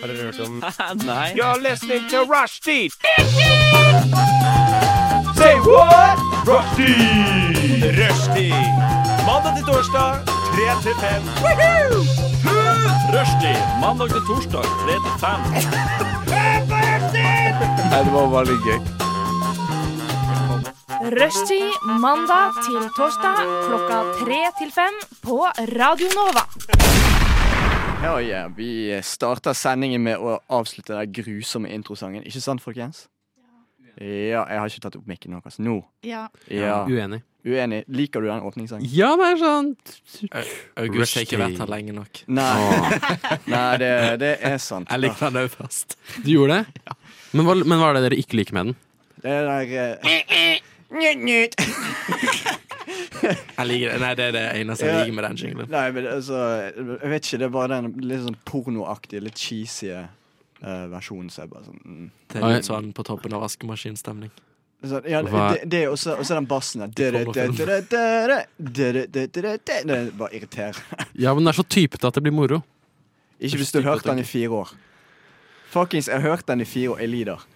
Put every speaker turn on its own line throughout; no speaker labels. Har dere hørt om
Nei.
You're listening to Rushdie! Say what? Rushdie! Rushdie! Mandag til torsdag, 3 til 5.
Rushdie mandag til torsdag 3 til 5.
Nei, det var bare litt gøy.
Rushtid mandag til torsdag klokka tre til fem på Radio Nova.
Ja, ja, vi starter sendingen med å avslutte den grusomme introsangen. Ikke sant, folkens? Ja, jeg har ikke tatt opp mikken nok, altså. Nå.
Ja.
Ja.
Uenig.
Uenig. Liker du den åpningssangen?
Ja, det er sånn sant.
August har ikke vært her
Rushdie.
lenge nok.
Nei, Nei det, det er sant.
Jeg likte den òg først.
Du gjorde det? Men hva, men hva er det dere ikke liker med den?
Det er der eh, Njut, njut.
Jeg liker det. Nei, det er det eneste jeg
Ja.
liker med den jinglen.
Nei, men altså Jeg vet ikke, det er bare den litt sånn pornoaktige, litt cheesy eh, versjonen som er bare sånn mm.
Det er litt sånn på toppen av vaskemaskinstemning.
Så, ja,
Hva-
det, det er også, også den bassen der. Det
Pornofilm.
er bare irriterende.
Ja, men den er så typete at det blir moro.
Ikke hvis du har hørt den i fire år. Fuckings, jeg har hørt den i fire år. Jeg lider.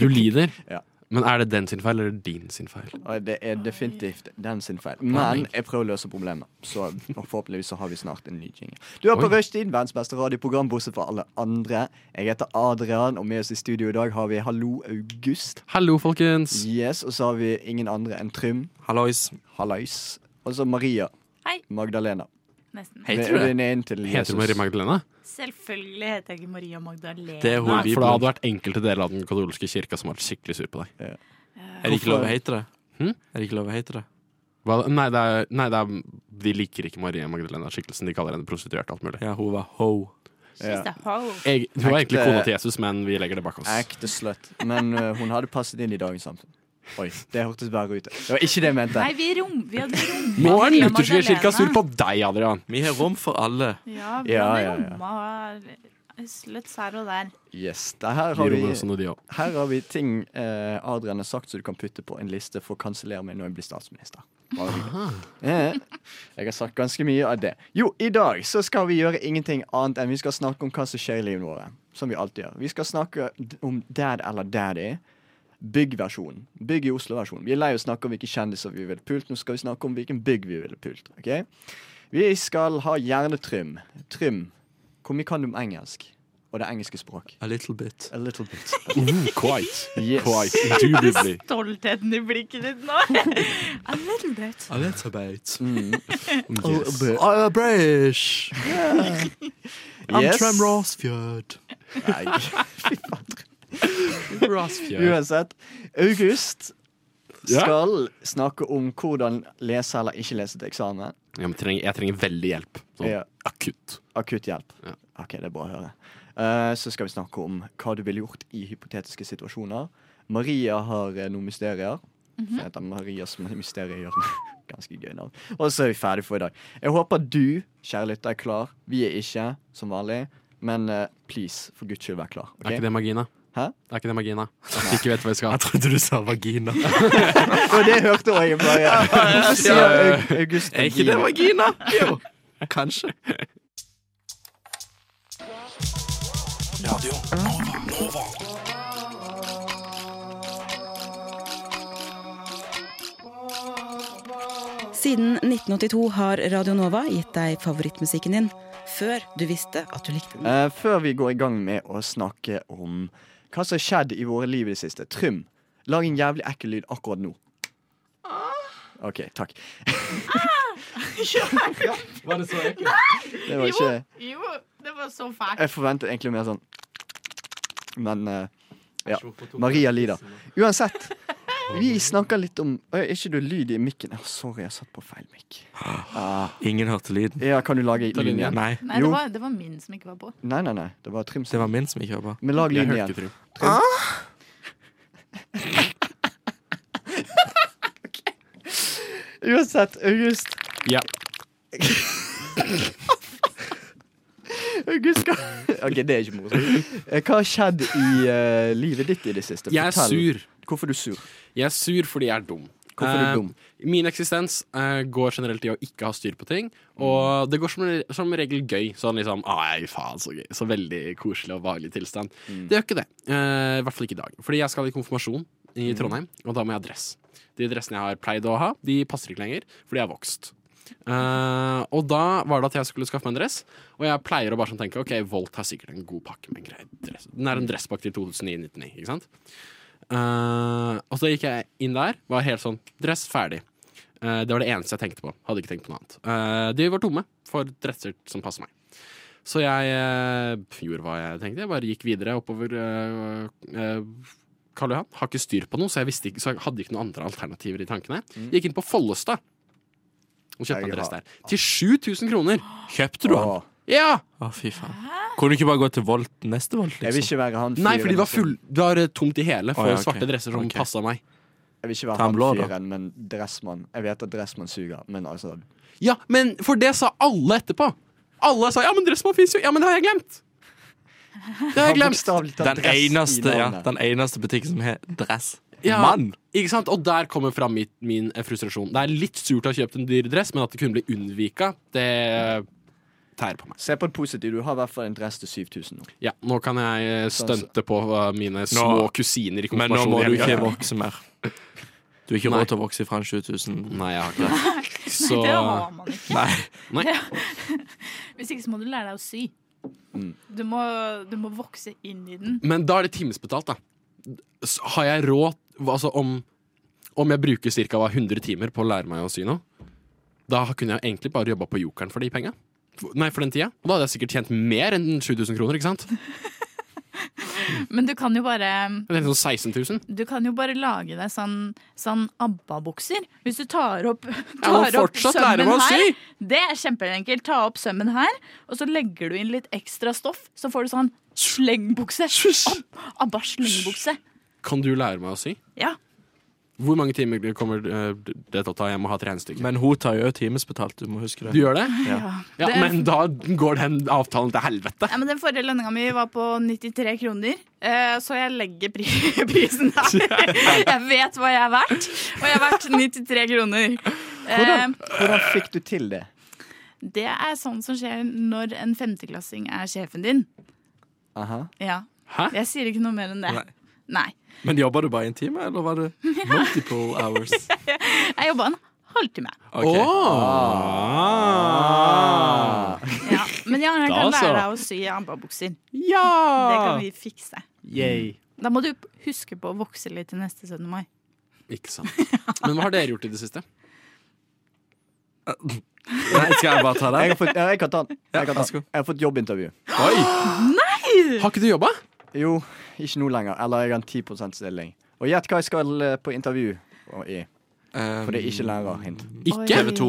Du lider.
Ja.
Men er det den sin feil, eller din sin feil?
Og det er definitivt den sin feil. Men jeg prøver å løse problemet. Så og forhåpentligvis så har vi snart en ny jingle. Du er på
Oi.
Rushtid, verdens beste radioprogram, bortsett fra alle andre. Jeg heter Adrian, og med oss i studio i dag har vi Hallo August.
Hallo, folkens.
Yes, Og så har vi ingen andre enn Trym.
Hallois.
Hallais. Og så Maria.
Hei.
Magdalena.
Nesten.
Heter du det?
Heter du Marie Magdalena?
Selvfølgelig heter jeg ikke Maria Magdalena.
Det er hun
Nei,
i
for da
Bibelen.
hadde det vært enkelte deler av den katolske kirka som var skikkelig sur på deg.
Er det ikke lov å hete det?
Hm?
Er det ikke lov å hete det?
Hva, nei, det er, nei det er, de liker ikke Marie Magdalena-skikkelsen. De kaller henne prostituert og alt mulig.
Ja, hun var ho.
She's a hoe.
Jeg, hun var egentlig
Ekte-
kona til Jesus, men vi legger det bak oss.
Ekte slutt. Men øh, hun hadde passet inn i dagens samfunn. Oi, det hørtes verre ut. Det var ikke det jeg mente.
Nei, vi, rom, vi hadde rom.
Nå er den
Maria
lutherske kirka
Magdalena.
sur på deg, Adrian.
Vi har rom for alle.
Ja, vi
Ja,
hadde
ja, ja.
romma og slutt her og der.
Yes, det her
De
har vi,
rommer også noe, de også.
her har vi ting eh, Adrian har sagt som du kan putte på en liste for å kansellere meg når jeg blir statsminister. Bare hyggelig. Eh, Jeg har sagt ganske mye av det. Jo, i dag så skal vi gjøre ingenting annet enn vi skal snakke om hva som skjer i livet vårt. Som vi alltid gjør. Vi skal snakke d- om dad eller daddy. Bygg-versjonen. Bygg i Oslo-versjonen. Vi er lei av å snakke om hvilke kjendiser vi ville pult. Nå skal vi snakke om hvilken bygg vi ville pult. ok? Vi skal ha Hjernetrym. Trym. Hvor mye kan du om engelsk? Og det engelske språk?
A little bit.
A little bit.
Ooh, quite.
Yes.
Quite. Indubitably.
Stoltheten i blikket ditt nå. A little bit.
A little bit.
Mm.
Yes.
bit.
I'm a British. I'm
Yes.
Trem Rosfjord.
Nei, fy faen.
Rosfjord.
Uansett. August
Ja?
skal snakke om hvordan lese eller ikke lese til eksamen.
Ja, men trenger, jeg trenger veldig hjelp. Sånn
Ja.
akutt.
Akutt hjelp.
Ja.
OK, det er bra å høre. Eh, så skal vi snakke om hva du ville gjort i hypotetiske situasjoner. Maria har eh, noen mysterier. Som heter Marias mysteriehjørne. Ganske gøy navn. Og så er vi ferdig for i dag. Jeg håper du, kjære lytter, er klar. Vi er ikke, som vanlig. Men eh, please, for guds skyld, vær klar. ok?
Er ikke det magina?
Hæ?
Er ikke det magina? At de ikke vet hva jeg skal.
trodde du sa vagina.
Og det hørte også jeg bare. Hvorfor sier Aug- August
Er ikke det
Bergin?
vagina? Jo, kanskje.
Siden 1982 har Radio Nova gitt deg favorittmusikken din før du visste at du likte den.
Eh, før vi går i gang med å snakke om hva som har skjedd i våre liv i det siste Trym, lag en jævlig ekkel lyd akkurat nå. OK, takk.
Var det så
Det var ikke
Jo, det var så fælt.
Jeg forventet egentlig mer sånn Men eh, ja. Maria lider. Uansett. Vi snakker litt om Øy, Er ikke du lyd i mikken? Ah, sorry, jeg satt på feil mikk. Ah,
Ingen hørte lyden.
ja, kan du lage
Ta
lyd
linjen.
igjen?
Nei,
Nei,
Jo.
det var, det var min som ikke var på.
Nei, nei, nei. Det var Trym
det
sin.
var min som ikke hørte på.
Men lag
Jeg
lyden
hørte
igjen.
ikke, Trym.
Uansett, August.
Ja.
August skal OK, det er ikke morsomt. Eh, Hva har skjedd i eh, livet ditt i det siste?
Jeg er
Fortell.
sur.
Hvorfor er du sur?
Jeg er sur fordi jeg er dum.
Hvorfor er
Eh,
du dum?
Min eksistens eh, går generelt i å ikke ha styr på ting, og det går som, som regel gøy. Sånn liksom Ai, faen, så gøy. Så veldig koselig og behagelig tilstand. Det gjør ikke det. Eh, I hvert fall ikke i dag. Fordi jeg skal i konfirmasjon i Trondheim, og da må jeg ha dress. De dressene jeg har pleid å ha, de passer ikke lenger, fordi jeg har vokst. Eh, og da var det at jeg skulle skaffe meg en dress, og jeg pleier å bare sånn tenke Ok, Volt har sikkert en god pakke med en grei dress. Den er en dresspakke til 2009-99, ikke sant? Eh, og så gikk jeg inn der, var helt sånn dress ferdig. Eh, det var det eneste jeg tenkte på. Hadde ikke tenkt på noe annet. Eh, de var tomme for dresser som passer meg. Så jeg eh, gjorde hva jeg tenkte. Jeg bare gikk videre oppover eh, eh, Karl Johan. Har ikke styr på noe, så jeg, visste ikke, så jeg hadde ikke noen andre alternativer i tankene.
Mm.
Gikk inn på Follestad og kjøpte
Jeg
en dress
har-
der. Til 7000 kroner!
Kjøpte du han?
Åh,
Ja!
Å, fy faen. Kunne du ikke bare gå til Volt neste Volt,
jeg vil
liksom?
ikke være han altså.
Nei, fordi det var,
som-
full, det var eh, tomt i hele for
Å, ja, ok.
svarte dresser som
Ok.
passa meg.
Jeg vil ikke være
Ta en
han
blå, da.
fyren, men Dressmann. Jeg vet at Dressmann suger, men altså
Ja, men for det sa alle etterpå. Alle sa ja, men Dressmann fins jo. Ja, men det har jeg glemt. Det har jeg glemt.
Den eneste, ja, den eneste butikken som har dress.
Ja.
Mann!
Ikke sant? Og der kommer fram mitt, min eh, frustrasjon. Det er litt surt å ha kjøpt en dyr dress, men at det kunne bli unnvika, det tærer på meg.
Se på det positive. Du har i hvert fall en dress til 7000 nå.
Ja, nå kan jeg eh, stunte på eh, mine små kusiner i
Men nå må
konfirmasjonen.
du ikke vokse mer. Du har ikke
Nei.
råd til å vokse fra en 7000.
Nei, jeg har ikke det. Så
Det har man ikke.
Nei.
Hvis ikke så må du lære deg å sy.
Mm.
Du må, du må vokse inn i den.
Men da er det timesbetalt, da. S- Har jeg råd Altså om, om jeg bruker ca. 100 timer på å lære meg å sy noe, da kunne jeg egentlig bare jobba på Jokeren for de penga. For- Nei, for den tida. Og da hadde jeg sikkert tjent mer enn 7000 kroner, ikke sant?
Men du kan jo bare
Eller sånn 16 000.
Du kan jo bare lage deg sånn, sånn ABBA-bukser. Hvis du tar opp,
Jeg må
tar opp
fortsatt lære meg
sømmen
å
her.
sy!
Det er kjempeenkelt. Ta opp sømmen her, og så legger du inn litt ekstra stoff. Så får du sånn slengbukse. Ab- ABBA-slengbukse.
Kan du lære meg å sy?
Ja.
Hvor mange timer kommer eh, det til å ta? Jeg må ha tre stykker.
Men hun tar jo timesbetalt, du må huske
Du
det.
gjør det?
Ja.
Ja,
Det-
men da går den avtalen til helvete.
Nei, men Den forrige lønninga mi var på 93 kroner, eh, så jeg legger pri prisen der. Jeg vet hva jeg er verdt, og jeg er verdt 93 kroner. Eh,
Hvordan fikk du til det?
det er sånn som skjer når en femteklassing er sjefen din.
Aha.
Ja.
Hæ?
Jeg sier ikke noe mer enn det.
Nei.
Nei.
Men jobba du bare en time, eller var det multiple hours?
Jeg jobba en halvtime.
Ok.
Ah.
Ja. Men ja, jeg
Da
kan
så.
lære deg å sy ABBA-bukser. Det kan
Ja!
vi fikse.
Yay.
Da må du huske på å vokse litt til neste 17. mai.
Ikke sant. Men hva har dere gjort i det siste?
Nei, skal jeg bare ta
Jeg
den?
har fått, ja, jeg kan ta den. Jeg, kan ta
vær så
den.
god.
jeg har fått jobbintervju.
Har ikke du jobba?
Jo, ikke nå lenger. Eller jeg har en 10 %-stilling. Og gjett hva jeg skal eh, på intervju og i. For det er ikke lærerhint.
Ikke?
TV 2.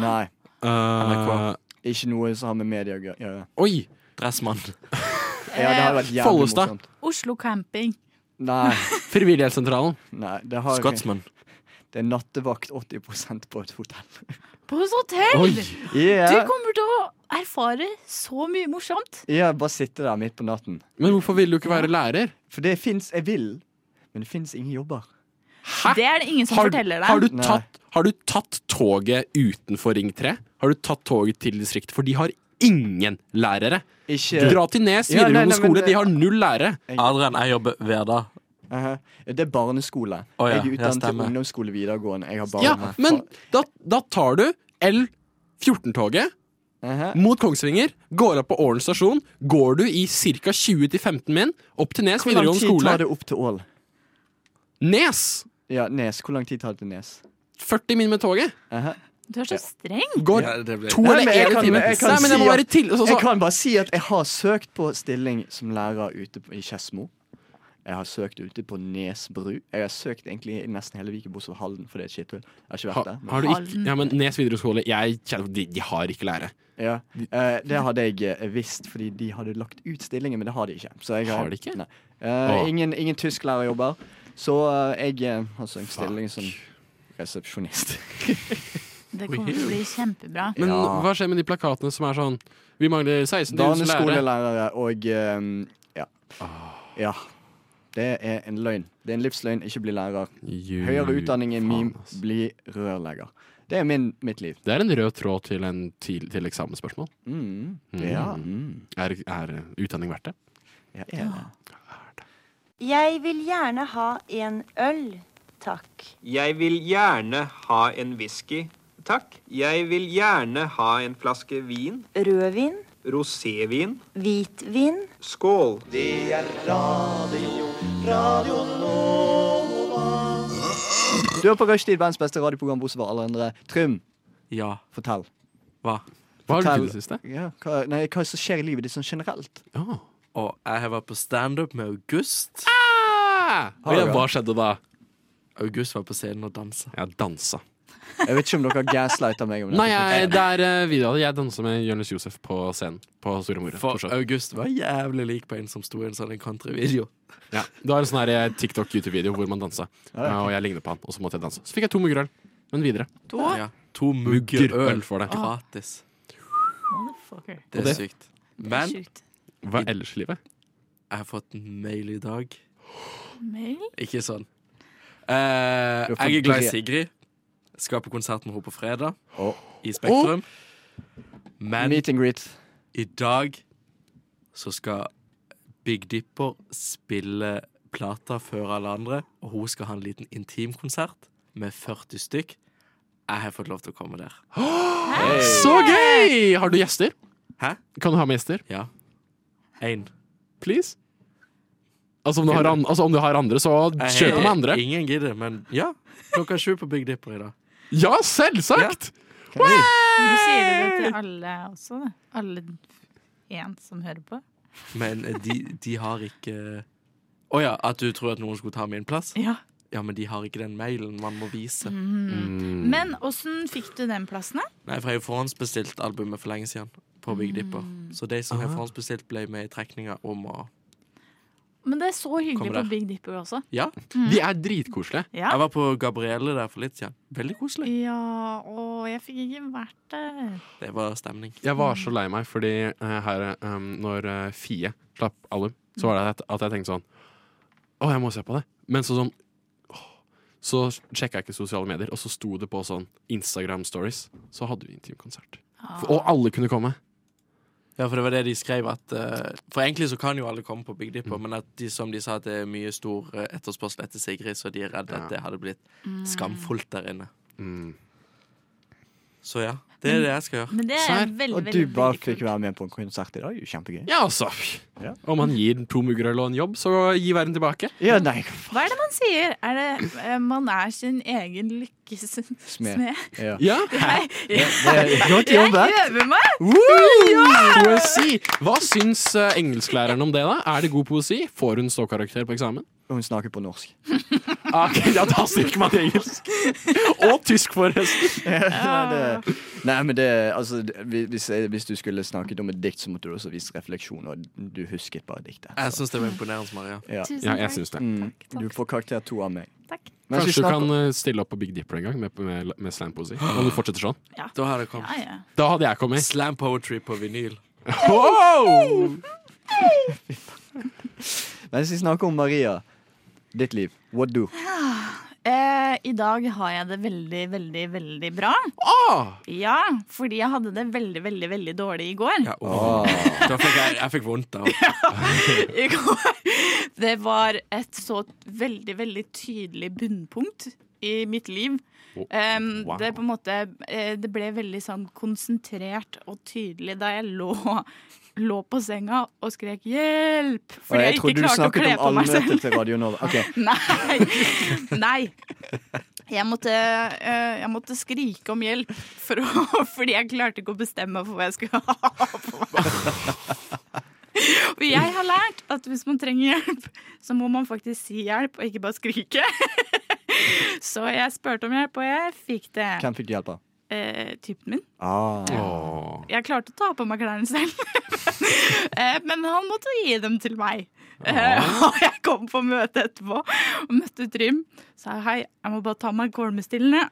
Nei.
Eh,
Ikke noe som har med media å gjøre.
oi!
Dressmann.
Ja, det har vært jævlig
Follestad.
morsomt.
Oslo camping.
Nei.
Frivillighetssentralen.
nei det, har,
Scotsman.
det er nattevakt 80 på et hotell.
På et hotell! Du
Yeah.
kommer til å erfare så mye morsomt.
Ja, bare sitte der midt på natten.
Men hvorfor ville du ikke være lærer?
For det fins Jeg vil, men det fins ingen jobber.
Hæ?
Det er det ingen som
Har,
forteller deg.
har, du
Nei.
tatt, har du tatt toget utenfor Ring 3? Har du tatt toget til distriktet? For de har ingen lærere.
Ikke
Dra til Nes
Ja, nei, nei,
videregående
men
skole,
det-
de har null lærere.
Adrian, jeg jobber hver dag.
Aha. Det er barneskole.
Å, ja.
Jeg er
Ja,
utdannet til
stemmer.
ungdomsskole videregående. Jeg har barn
Ja,
her.
men da, da tar du L14-toget
Aha.
mot Kongsvinger, går opp på Ålen stasjon, går du i ca. 20-15 min, opp til Nes
Hvor lang
videregående
tid tar
skole.
det opp til Ål?
Nes!
Ja, Nes. Hvor lang tid tar det til Nes?
40 min med toget.
Aha.
Du er så streng.
Går to
Nei,
eller
men jeg
én
kan-
time.
jeg kan
Nei, men jeg
si
må
at-
være til. altså, Så, så,
Jeg kan bare si at jeg har søkt på stilling som lærer ute på- i Skedsmo. Jeg har søkt ute på Nesbru. Jeg har søkt egentlig i nesten hele Viken, bortsett fra Halden. For det er et skitthull. Jeg har ikke vært
Har,
der. men-
har du ikke, ja, men Nes videregående skole jeg, kjenner- de, de har ikke lære.
Ja, eh, Det hadde jeg eh, visst, fordi de hadde lagt ut stillingen, men det har de ikke. Så jeg
Har de ikke?
Nei. Eh,
Åh.
ingen, ingen tysklærerjobber. Så eh, jeg eh, har søkt stilling som resepsjonist.
Det kommer til å bli kjempebra.
Men
Ja.
hva skjer med de plakatene som er sånn Vi mangler 16 000 lærere.
Daneskolelærere og eh, ja. ja. Det er en løgn. Det er en livsløgn. Ikke bli lærer. Høyere utdanning er min. Bli rørlegger. Det er min, mitt liv.
Det er en rød tråd til, en til, til eksamensspørsmål.
Mm. Ja. Mm.
Er, er utdanning verdt det?
ja. er det.
Jeg vil gjerne ha en øl, takk.
Jeg vil gjerne ha en whisky, takk. Jeg vil gjerne ha en flaske vin.
Rødvin,
Rosévin.
hvitvin.
Skål.
Du er på rushtid, verdens beste radioprogram bortsett fra alle andre. Trym,
Ja.
fortell.
Hva?
Hva har du
Fortell.
gjort i det siste?
Ja, hva, nei, hva som skjer i livet ditt sånn generelt?
Ja.
Og jeg har vært på standup med August.
Og ja, hva skjedde da?
August var på scenen og dansa.
Jeg dansa.
Jeg vet ikke om dere gaslighter meg om dette.
Nei, jeg, det er eh, video av det. Jeg dansa med Jonis Josef på scenen på Store Mora.
For
på show.
August var jævlig lik på en som sto i en sånn countryvideo.
Ja. Det var en sånn her, eh, TikTok-YouTube-video hvor man dansa, Eh, og jeg lignet på han. Og så måtte jeg danse. Så fikk jeg to muggerøl. Men videre.
Da
Ja. To
Mugger
mugger
øl
øl
for deg.
gratis.
Motherfucker.
Og
Det er
det-
sykt. Men jeg
Sjukt.
Hva er ellers i livet?
har fått en mail i dag.
Mail?
Ikke sånn. Eh,
Du har fått
jeg er glad i
brev.
Sigrid. Skal på konsert med henne på fredag.
Å.
I Spektrum. Men
Meet and greet.
i dag så skal Big Dipper spille plata før alle andre, og hun skal ha en liten intimkonsert med 40 stykk. Jeg har fått lov til å komme der.
Så gøy! Har du gjester?
Hæ?
Kan du ha med gjester?
Ja. Én.
Please? Altså om du har, an altså, om du har andre, så
Eh,
kjør på med andre.
Ingen gidder, men ja. Klokka sju på Big Dipper i dag.
Ja, selvsagt!
Nå sier du det til alle også, da. Alle én som hører på.
Men eh, de, de har ikke eh, Å ja, at du tror at noen skulle ta min plass?
Ja.
Ja, men de har ikke den mailen man må vise.
Mm. Men åssen fikk du den plassen, da?
Nei, for jeg har jo forhåndsbestilt albumet for lenge siden. På Big Dipper. Så de som har forhåndsbestilt, ble med i trekninga om å
Men det er så hyggelig
Kommer der.
på Big Dipper også.
Ja.
De er dritkoselige.
Ja.
Jeg var på Gabrielle der for litt siden. Veldig koselig.
Ja, å, jeg fikk ikke vært der.
Det var stemning.
Jeg var så lei meg fordi eh, her, um, når eh, Fie slapp album, så var det at, at jeg tenkte sånn Å, jeg må se på det. Men så sånn åh, Så sjekka jeg ikke sosiale medier, og så sto det på sånn Instagram stories. Så hadde vi intimkonsert. F- Og alle kunne komme.
Ja, for det var det de skrev at eh, For egentlig så kan jo alle komme på Big Dipper, men at de som de sa at det er mye stor eh, etterspørsel etter Sigrid, så de er redd
Ja.
at det hadde blitt
Mm.
skamfullt der inne.
Mm.
Så ja. Det er det jeg skal gjøre.
Men det er
Sær.
veldig, veldig,
Og du bare
veldig
fikk
kult.
være med på en konsert i dag. Det er jo kjempegøy.
Ja, altså.
Ja.
Om man gir to muggerøl og en jobb, så gi verden tilbake.
Ja, nei,
Hva er det man sier? Er det eh, man er sin egen lykkes smed?
ja.
Ja.
Nei,
Det er Godt
jeg
jobbet.
øver meg!
Poesi! Hva syns eh, engelsklæreren om det, da? Er det god poesi? Får hun ståkarakter på eksamen?
Hun snakker på norsk.
Ok, ja, da styrker man engelsk. Og tysk, forresten.
Nei, det, nei, men det altså, det- hvis, hvis du skulle snakket om et dikt, så måtte du også vise refleksjon, og du husket bare diktet.
Jeg syns det var imponerende, Maria.
Ja.
Tusen
Ja, jeg
takk.
syns det.
Mm,
Takk, takk.
du får karakter to av meg.
Takk.
Mens vi
Kanskje du
snakker-
kan eh, stille opp på Big Dipper en gang med, med, med slampoesi. Om du fortsetter sånn.
Da har det
Ja,
kommet.
ja.
Da hadde jeg kommet.
Slam poetry på vinyl.
Wow!
Mens vi snakker om Maria, ditt liv, what do?
Eh, I dag har jeg det veldig, veldig, veldig bra. Ja, fordi jeg hadde det veldig, veldig, veldig dårlig i går.
Ja, åh. Da fikk jeg, jeg fikk vondt av det.
I går. Det var et så veldig, veldig tydelig bunnpunkt i mitt liv. Em,
wow.
Det på en måte eh, Det ble veldig sånn konsentrert og tydelig da jeg lå, lå på senga og skrek 'hjelp'
Og
fordi jeg,
trodde
ikke
du
klarte å
snakket
kle på
om
meg selv.
allmøtet til Radio Nova. Ok,
Nei. Nei. Jeg måtte, eh, jeg måtte skrike om hjelp for å, fordi jeg klarte ikke å bestemme meg for hva jeg skulle ha på meg. Og jeg har lært at hvis man trenger hjelp, så må man faktisk si hjelp, og ikke bare skrike. Så jeg spurte om hjelp, og jeg fikk det.
Hvem fikk du hjelp av?
Eh, typen min.
Ah.
Åh.
Jeg klarte å ta på meg klærne selv, Eh, men han måtte gi dem til meg. Eh, Og jeg kom på møte etterpå og møtte Trym. Sa hei, jeg må bare ta meg kvalmestillende.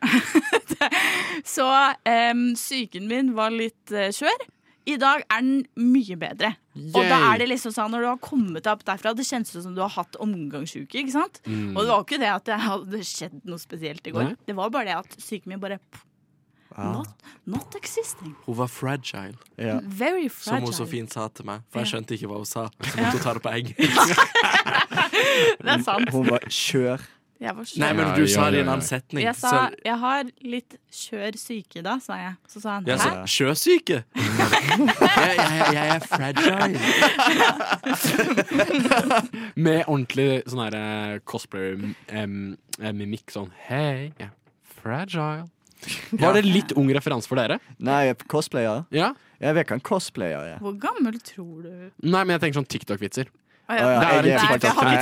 Så em, psyken min var litt eh, skjør. I dag er den mye bedre. Og da er det liksom sånn, når du har kommet deg opp derfra, det kjennes ut som du har hatt omgangsuke. ikke sant?
Mm.
Og det var ikke det at det hadde skjedd noe spesielt i går.
Nei. Ah.
Det var bare det at psyken min bare not, not existing.
Hun var fragile,
Ja.
Very
som hun
fragile.
så fint sa til meg. For jeg
Ja.
skjønte ikke hva hun sa. Så måtte hun ta det på engelsk.
Det er sant.
Hun var kjør.
Jeg var så
Nei, men
Ja,
du
ja,
sa det i
ja,
en annen
ja.
setning.
Jeg sa
så-
'jeg har litt skjør syke da', sa jeg. Så sa han
jeg
'hæ?
sa sjøsyke. jeg, jeg, jeg er fragile.
Med ordentlig sånn her eh, cosplayer-mimikk. sånn Hei, jeg er fragile. Var det litt ung referanse for dere?
Nei, cosplayer.
Ja?
Jeg vet hva en cosplayer er.
Hvor gammel tror du
Nei, men jeg tenker sånn TikTok-vitser.
Å,
Å ja,
Det er
jeg
en
er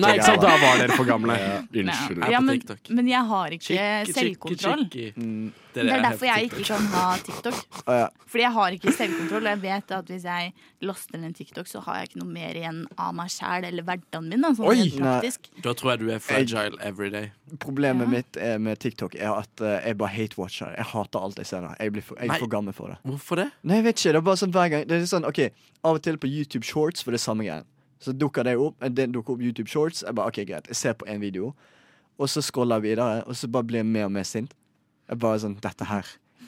ikke på TikTok.
Nei, for jeg har ikke
Nei,
Nei,
jeg er ikke på
ikke sant, da
TikTok.
var dere for gamle. Unnskyld.
Nei.
Jeg
Ja,
er på
men,
TikTok.
men jeg har ikke
Chicky, chicky,
selvkontroll.
chicky.
Det er
jeg
derfor jeg ikke kan ha TikTok.
Å ja.
Fordi jeg har ikke selvkontroll. Og jeg vet at hvis jeg laster ned en TikTok, så har jeg ikke noe mer igjen av meg sjæl eller hverdagen min. Da, sånn
Oi!
rent praktisk.
Da tror jeg du er fragile every day.
Problemet mitt er med TikTok er at eh, jeg bare hate-watcher. Jeg hater alt jeg ser der. Jeg blir for, jeg
Nei.
er for gammel for det.
Hvorfor det?
Nei, jeg vet ikke. Det er bare sånn hver gang Det er sånn, ok, Av og til på YouTube Shorts for det er samme greien. Så dukker det opp. eh, Det dukker opp YouTube Shorts. Jeg bare, ok, greit, jeg ser på en video, og så scroller jeg videre, og så bare blir jeg mer og mer sint. Jeg bare sånn Dette her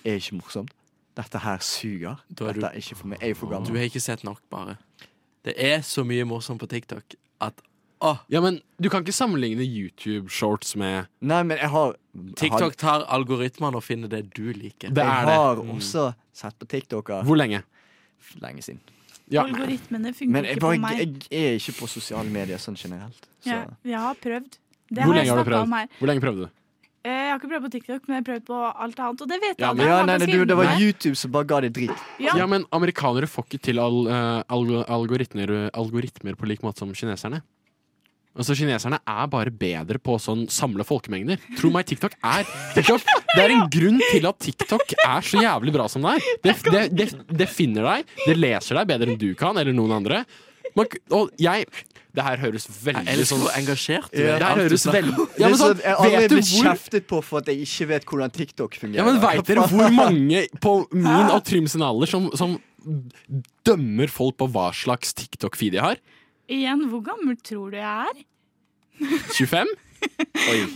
er ikke morsomt. Dette her suger.
Da er du-
Dette er ikke for meg. Jeg er for
Du
gammel.
har ikke sett nok, bare. Det er så mye morsomt på TikTok at Å,
Ja, men du kan ikke sammenligne YouTube-shorts med
Nei, men jeg har jeg har-
TikTok tar algoritmene og finner det Mm. du liker.
Det
Jeg
er det.
har også sett på TikToker
Hvor lenge?
lenge siden.
Ja.
Algoritmene
Men
funker
jeg,
ikke på
bare,
meg.
jeg er ikke på sosiale medier sånn generelt. Så.
Jeg, jeg har prøvd. Det
Hvor
har
lenge har
jeg
du
snakket
prøvd?
om her.
Hvor lenge prøvde du?
Eh, Jeg har ikke prøvd på TikTok, men jeg har prøvd på alt annet. Og det vet
Ja,
alle.
Men ja,
Alle
nei, nei,
skal
du, det var
innrømme
YouTube som bare ga deg drit.
Ja.
Ja, men amerikanere får ikke til al eh, alg- algoritmer, algoritmer på lik måte som kineserne. Altså, Kineserne er bare bedre på å sånn samle folkemengder. Tro meg, TikTok er TikTok, Det er en grunn til at TikTok er så jævlig bra som det er. Det, det, det, det finner deg, det leser deg bedre enn du kan, eller noen andre. Man, k- og jeg Det her høres
Jeg
veldig
elsker
sånn
hvor engasjert du
Ja.
er.
Det her
Alt du
høres
snakker
veldig
Det
ja,
er
men sånn,
sånn, jeg har aldri
Vet du
blitt
hvor
kjeftet på for at jeg ikke vet hvordan TikTok fungerer.
Ja, men Veit dere hvor mange på min og Trym sin alder som, som dømmer folk på hva slags TikTok-feed de har?
Igjen, hvor gammel tror du jeg er?
25?
Ja.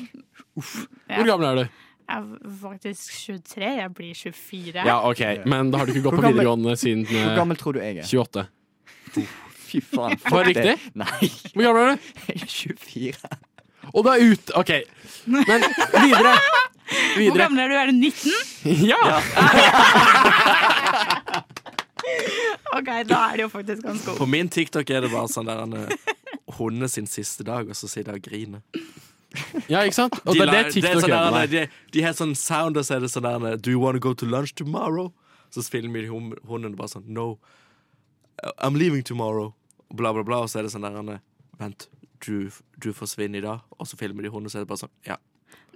Hvor gammel er du?
Jeg er faktisk 23. Jeg blir 24.
Ja, ok, Men da har du ikke gått
Hvor
på
gammel-
videregående siden
Hvor
eh,
gammel tror du jeg er?
28.
Fy faen. fuck
Var det
det.
riktig?
Nei,
Hvor gammel er du?
jeg er 24.
Og du er ut OK. Men videre.
hvor
Videre.
gammel er du? Er du 19?
Ja!
Ok, da er det jo faktisk ganske
På min TikTok er det bare sånn der han er Hunde sin siste dag, og så sitter jeg og griner.
ja, ikke sant? Og
De
det er det
lar-
TikTok
sånn
gjør
der,
med deg.
de, de har sånn sound, og så er det sånn der Do you wanna go to lunch tomorrow? Så filmer de hum- hunden bare sånn No, I'm leaving tomorrow. Bla, bla, bla. Og så er det sånn der han er, Vent, du, du forsvinner i dag. Og så filmer de hunden, og så er det bare sånn Ja.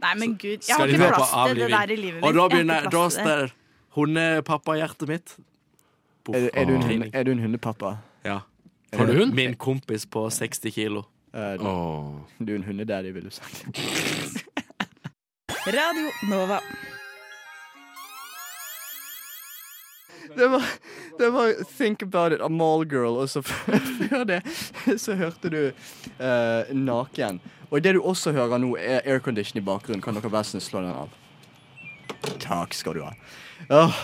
Nei, men gud, jeg
skal
har
de
ikke
være på
plass til det
avliving.
der i livet mitt.
Og da
har ikke
begynner da
plass til det.
står hundepappa-hjertet mitt. Boff.
Er, du- er, du en
Grining.
hund, er du en hundepappa?
Ja.
Har du hund?
Min kompis på 60 kilo.
Eh,
Åh.
Du er en hundedaddy, ville du sagt.
Radio Nova.
Det var, det var Think About It av Mallgirl, og så før det så hørte du eh, Naken. Og det du også hører nå, er aircondition i bakgrunnen. Kan dere være så snill slå den av? Takk skal du ha. Åh,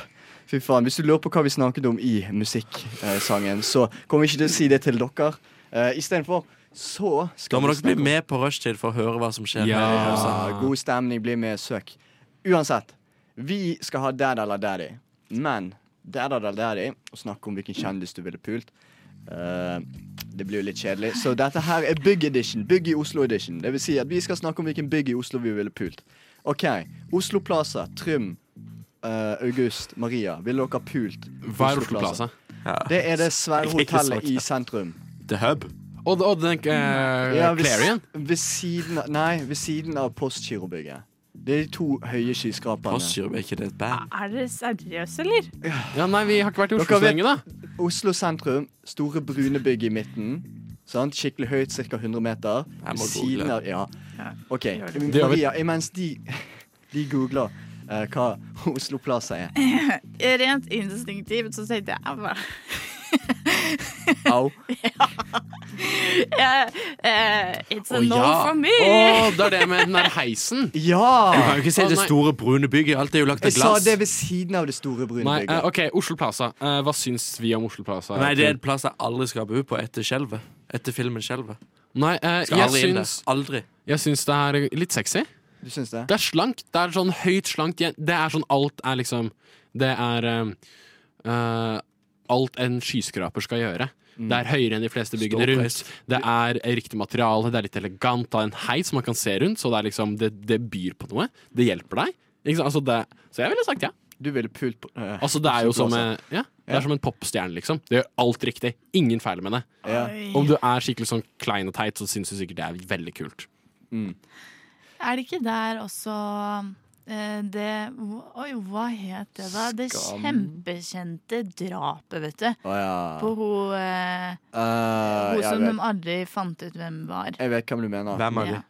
fy faen. Hvis du lurer på hva vi snakket om i musikksangen, så kommer vi ikke til å si det til dere. Uh, Istedenfor så
Da
skal
må
vi
dere bli
snakke om-
med på rushtid for å høre hva som skjer.
Ja.
her i huset.
Ja, god stemning, bli med, søk. Uansett, vi skal ha Dad eller Daddy. Men Dad eller Daddy, og snakke om hvilken kjendis du ville pult, eh, det blir jo litt kjedelig. Så dette her er Bygg Edition. Bygg i Oslo Edition. Det vil si at vi skal snakke om hvilken bygg i Oslo vi ville pult. OK. Oslo Plaza, Trym, eh, August, Maria. Ville dere pult
Hva er Oslo Plaza?
Det er det svære
Jeg er ikke
hotellet
så-
i sentrum.
The Hub.
Og, og den eh,
Ja, ved,
Clarion?
ved siden av Nei, ved siden av Postgirobygget. Det er de to høye skyskraperne.
Postgirop, er ikke det et band?
Er dere seriøse, eller?
Ja, nei, vi har ikke vært i Oslo
Dere
så
vet-
lenge, da.
Oslo sentrum, store brune bygg i midten. Sant? Skikkelig høyt, ca. 100 meter.
Jeg må
Ved siden
google.
av Ja. OK.
gjør det.
Det gjør vi.
Maria, imens de, de googler eh, hva Oslo Plaza er.
Rent instinktivt så tenkte jeg "Au, hva?"
Au.
Eh, eh, It's a
Å,
no
ja.
for me!
Å, det er det med den der heisen.
Du
Ja!
kan jo ikke se
Å,
det
nei.
store, brune bygget. Alt er jo lagd av
Jeg sa
glass.
det ved siden av det store brune
Nei, eh,
bygget.
OK, Oslo Plaza. Eh, hva syns vi om Oslo Plaza?
Nei, det er en plass jeg aldri skal bo på etter skjelvet. Etter filmen Skjelvet.
Nei, eh,
Skal
jeg,
aldri inn der.
syns,
Aldri.
jeg syns det er litt sexy.
Du syns det?
Det er slankt. Det er sånn høyt slankt. Jeg- Det er sånn alt er liksom Det er eh, eh, alt en skyskraper skal gjøre.
Mm.
Det er høyere enn de fleste byggene
Stålpreis.
rundt. Det er riktig materiale, det er litt elegant. Det er en heis man kan se rundt, så det, er liksom, det, det byr på noe. Det hjelper deg. Ikke sant? Altså det, så jeg ville sagt ja.
Du ville pult på eh,
Altså det er jo
Oslo
som,
Plaza.
eh, ja, det er som en popstjerne, liksom. Det gjør alt riktig. Ingen feil med det.
ja.
Om du er skikkelig sånn klein og teit, så syns du sikkert det er veldig kult.
Er det ikke der også eh, det Oi, hva het det da? Det
Skam.
kjempekjente drapet, vet du.
Å ja.
På hun,
Eh,
eh, hun
jeg,
som de
vet,
aldri fant ut hvem var.
jeg vet hvem du mener.
Hvem er
Ja.
de?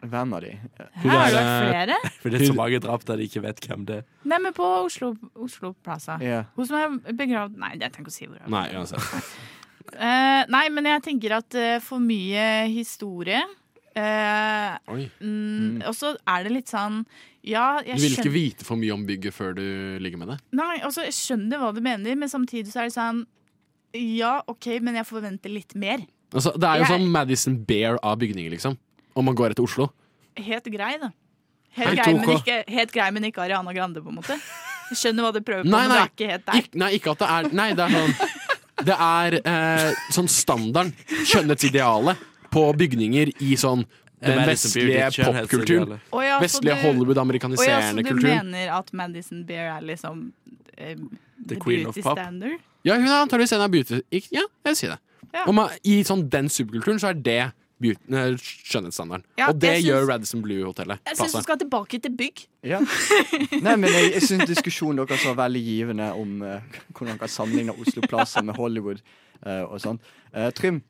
Hvem av de?
Her har det vært flere.
For det er så mange drap der de ikke vet hvem det er.
Nei, men på Oslo, Oslo Plaza.
Ja.
Hun som er begravd Nei, jeg trenger ikke å si hvor. hun er.
Nei, uansett.
Eh, nei, men jeg tenker at eh, for mye historie eh,
Oi.
mm, Og så er det litt sånn Ja, jeg
Du vil ikke
skjønner,
vite for mye om bygget før du ligger med det.
nei, altså, jeg skjønner hva du mener, men samtidig så er det sånn Ja, OK, men jeg forventer litt mer.
Altså, det er jo
Jeg-
sånn Madison Bear av bygninger, liksom. Om man går etter Oslo.
Helt grei, da. Helt,
Helt
grei, men
ok.
ikke, helt grei, men ikke Ariana Grande, på en måte. Jeg skjønner hva du prøver på,
Nei,
men det
nei.
er ikke helt der.
Ik nei, ikke at det er Nei, det er sånn Det er eh, sånn standarden, skjønnhetsidealet, på bygninger i sånn
Det
den
er Madison
vestlige
Beer, ditt
popkulturen.
skjønnhetsidealet.
Å ja,
Vestlige
så Altså, du- Å ja, så
Hollywood-amerikaniserende
du
kultur.
mener at Madison Beer er liksom eh, The,
queen of
beauty
pop.
standard?
Ja, hun er antakeligvis en av beauty... Ikke, ja, jeg vil si det.
Ja.
Om man, I sånn den subkulturen så er det beauty, eh, skjønnhetsstandarden.
Ja,
og det
jeg syns-
gjør Radisson Blue-hotellet.
Jeg syns du skal tilbake til bygg.
Ja. Nei, men jeg, jeg syns diskusjonen deres var veldig givende om eh, hvordan man kan sammenligne Oslo Plaza med Hollywood eh, og sånn. Eh, Trym,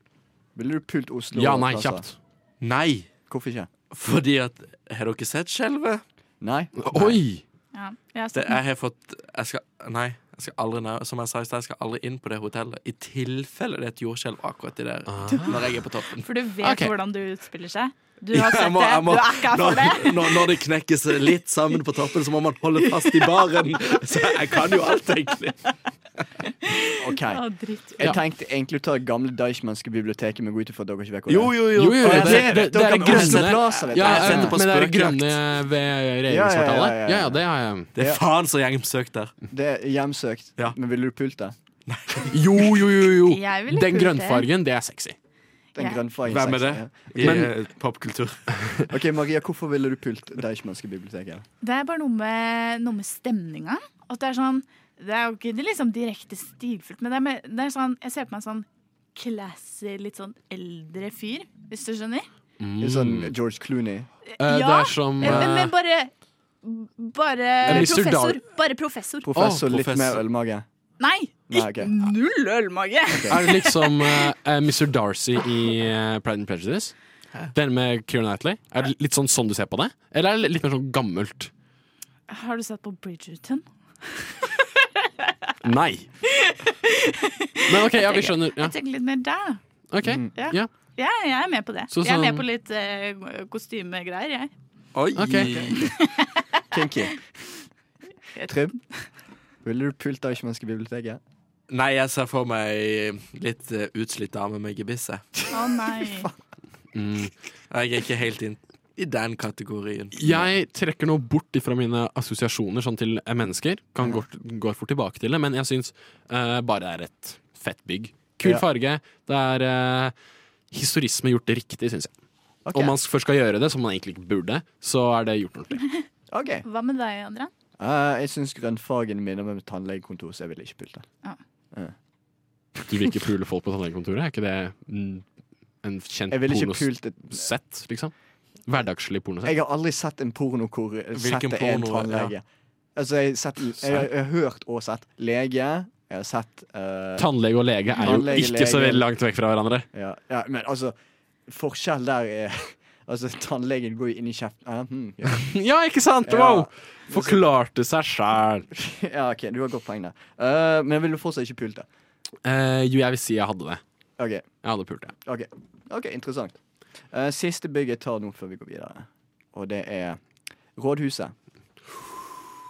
ville du pult Oslo
Ja, nei,
Plaza?
kjapt.
Nei!
Hvorfor ikke?
Fordi at Har dere sett Skjelvet?
Nei?
Oi!
Ja, jeg sånn, har
Det,
sett den.
jeg har fått jeg skal, Nei. Jeg skal aldri, nær- som jeg sa i stad, jeg skal aldri inn på det hotellet. I tilfelle det er et jordskjelv akkurat i der. Når jeg er på toppen.
For du vet
Ok.
hvordan du utspiller seg. Du har sett
Jeg må-
det.
jeg må-
Du er ikke her for det.
når, når, når det knekkes litt sammen på toppen, så må man holde fast i baren. Så jeg kan jo alt, egentlig.
OK.
Å, dritt.
Jeg
Ja.
tenkte egentlig å ta gamle Deichmanske biblioteket, men gå ut ifra at dere ikke vet hvor det
Jo,
er.
jo, jo.
Jo, jo,
Og jeg
det-
ser det,
det- det er
dere kan
grønne-
Oslo Plaza, vet du.
Ja,
Jeg
eh,
sendte på
med det
spøkjakt.
grønne ved
Ja, ja,
regjeringskvartalet?
ja, ja, ja.
Ja, ja, det har jeg.
Det er faen så gjengomsøkt der.
Det er hjemsøkt.
Ja.
Men ville du pult det?
Jo, jo, jo,
Jeg
jo. Den
ville pult det.
grønnfargen, det er sexy.
Den
Ja.
grønnfargen
Hvem er det?
sexy,
I
Men-
eh, popkultur.
ja. OK, Maria, hvorfor ville du pult Deichmanske biblioteket?
Det er bare noe med, noe med stemninga. At det er sånn Det er jo ikke det liksom direkte stilfullt, men det er, mer- det er sånn Jeg ser på meg en sånn classy, litt sånn eldre fyr, hvis du skjønner?
Mm.
Det er Sånn George Clooney.
Eh, Det
Ja,
er som
Men,
eh,
men bare Bare
Mr.
professor.
Dar-
Bare professor.
Professor,
Å,
litt
professor.
mer ølmage.
Nei!
Nei, ok.
Null ølmage!
Er det liksom eh, eh, Mr. Darcy i eh, Pride and Prejudice? Den med Keira Knightley? Er det litt sånn sånn du ser på det? Eller er det litt mer sånn gammelt?
Har du sett på Bridgerton?
Nei. Men OK, ja, vi skjønner. Ja,
Jeg tenker litt mer der, da.
ok
Mm.
ja.
Ja, jeg er med på det.
Så
Jeg er med
sånn-
på litt eh, kostymegreier, jeg.
Oi!
Ok.
Kinky. Trym, ville du pult Deichmanske biblioteket?
Nei, jeg ser for meg ei litt eh, utslitt dame med gebiss. jeg.
Å nei.
Jeg er ikke helt inn i den kategorien.
Jeg trekker nå bort ifra mine assosiasjoner sånn til eh, mennesker. Kan gå, gå fort tilbake til det, men jeg syns eh, bare det er et fett bygg. Kul
Ja.
farge. Det er eh, historisme gjort riktig, syns jeg.
Ok.
Om man først skal gjøre det, som man egentlig ikke burde, så er det gjort ordentlig.
OK.
Hva med deg, Adrian?
Eh, jeg syns grønnfargen minner meg om et tannlegekontor, så jeg ville ikke pult det.
Du vil ikke pule folk på tannlegekontoret? Er ikke det mm, en kjent
Jeg ville ikke
pornosett,
pult et
liksom? Hverdagslig pornosett.
Jeg har aldri sett en porno hvor settet er en
porno,
tannlege. Altså, jeg, har sett, jeg, jeg, har hørt og sett lege. Jeg har sett eh,
Tannlege og lege er jo
Tannlege,
ikke så
lege.
veldig langt vekk fra hverandre.
ja, ja, Men altså, forskjell der er Altså, tannlegen går jo inn i kjeften. Ah, hm, ja.
Ja, ikke sant?
Ja.
Wow! Forklarte seg sjæl.
ja, OK, du har godt poeng der. Eh, men vil du fortsatt ikke pulte?
Eh, jo, jeg vil si jeg hadde det.
OK,
Jeg hadde pult, jeg.
ok, ok, interessant. Eh, siste bygg jeg tar nå før vi går videre, og det er Rådhuset.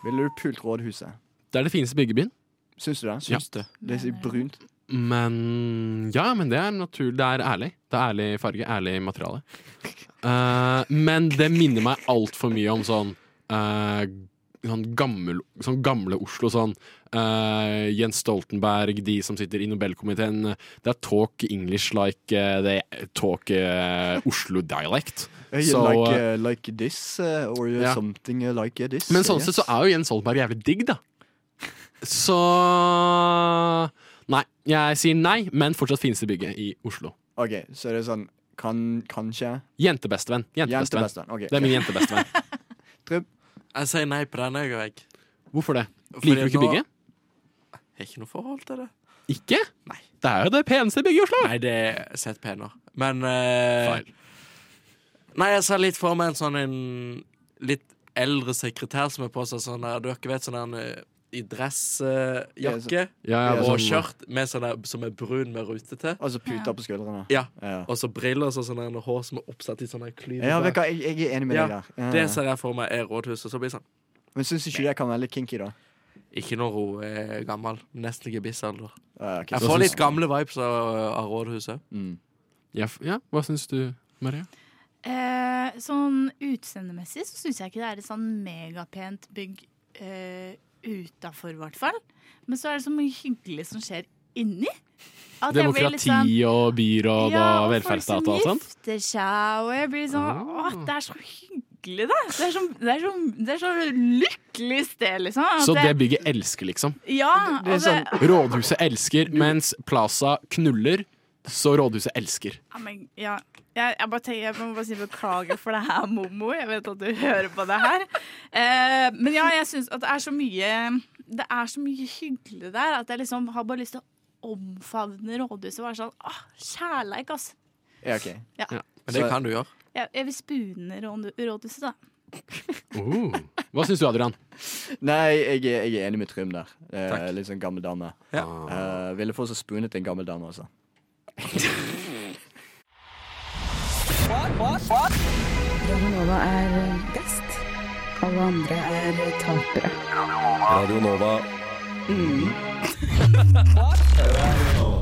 Ville du pult Rådhuset?
Det er det fineste bygget i byen.
Syns du det?
Syns
det. Det er så brunt.
Men ja, men det er naturlig. Det er ærlig. Det er ærlig farge, ærlig materiale. Eh, men det minner meg altfor mye om sånn eh, Sånn, gammel, sånn gamle Oslo. Sånn eh, Jens Stoltenberg, de som sitter i Nobelkomiteen. Det er talk English like eh, they talk eh, Oslo-dialect.
Eh,
Så,
like,
eh,
eh, like this, eh, or
ja.
something eh, like this.
Men sånn
yes.
sett så er jo Jens Stoltenberg jævlig digg, da. Så Nei. Jeg sier nei, men fortsatt fineste bygget i Oslo.
OK, så er det sånn kan, kanskje
Jentebestevenn. Jentebestevenn.
Jentebestevenn. ok.
Det er min jentebestevenn.
Jeg sier nei på denne, jeg.
Hvorfor det?
Fordi
Liker du ikke
nå-
bygget?
Jeg har ikke noe forhold til det.
Ikke? Nei. Det er jo det peneste bygget i Oslo!
Nei, det er sett penere. Men eh,
Feil.
Nei, jeg ser litt for meg en sånn en litt eldre sekretær som er på seg sånn der, dere vet, sånn der eh, i
Ja,
dressjakke
Ja,
Ja,
og
sånn-
skjørt med sånn der, som er brun med rutete.
Altså puter på skuldrene.
Ja.
Ja.
Og så briller og så sånn der hår som er oppsatt i sånn der klyver.
Ja, vet du hva, jeg, jeg er enig med
Ja,
deg der. Ja.
Det ser jeg for meg er rådhuset. Så blir det sånn
Men syns ikke det kan være litt kinky, da?
Ikke når hun er gammel. Nesten gebissalder.
Ja, Eh, ok,
Jeg
så-
får litt gamle vibes av, av rådhuset.
Mm.
Ja, f- ja, hva syns du, Maria?
Eh, sånn utseendemessig så syns jeg ikke det er et sånn megapent bygg eh, utafor, i hvert fall. Men så er det så mye hyggelig som skjer inni. At jeg blir litt
Demokrati
sånn-
og byråd og velferdsstat og sånn. Ah. alt
Ja, og folk
sånt?
som gifter seg, og jeg blir sånn Åh, det er så hyggelig, da. Det er så, det er så, det er så lykkelig sted, liksom. At
Så det bygget elsker, liksom.
Ja.
Det er
og det,
sånn-
Rådhuset elsker, mens Plaza knuller, så Rådhuset elsker.
ja, men, ja. Jeg, jeg, bare tenker, jeg må bare si beklager for det her, Momo. Jeg vet at du hører på det her. Eh, men ja, jeg syns at det er så mye Det er så mye hyggelig der at jeg liksom har bare lyst til å omfavne rådhuset og være sånn Åh, kjærleik, ass.
Ja, ok.
Men det
Så-
kan du gjøre.
Jeg, jeg vil spune råd- rådhuset, da.
Oh. Hva syns du, Adrian?
Nei, jeg er, jeg er enig med Trym der. Eh, litt sånn gammel dame.
Ja.
Eh, ville fortsatt spunet en gammel dame, altså.
Radio Nova er eh, best. Alle andre er eh, tapere.
Radio Nova.
Mm.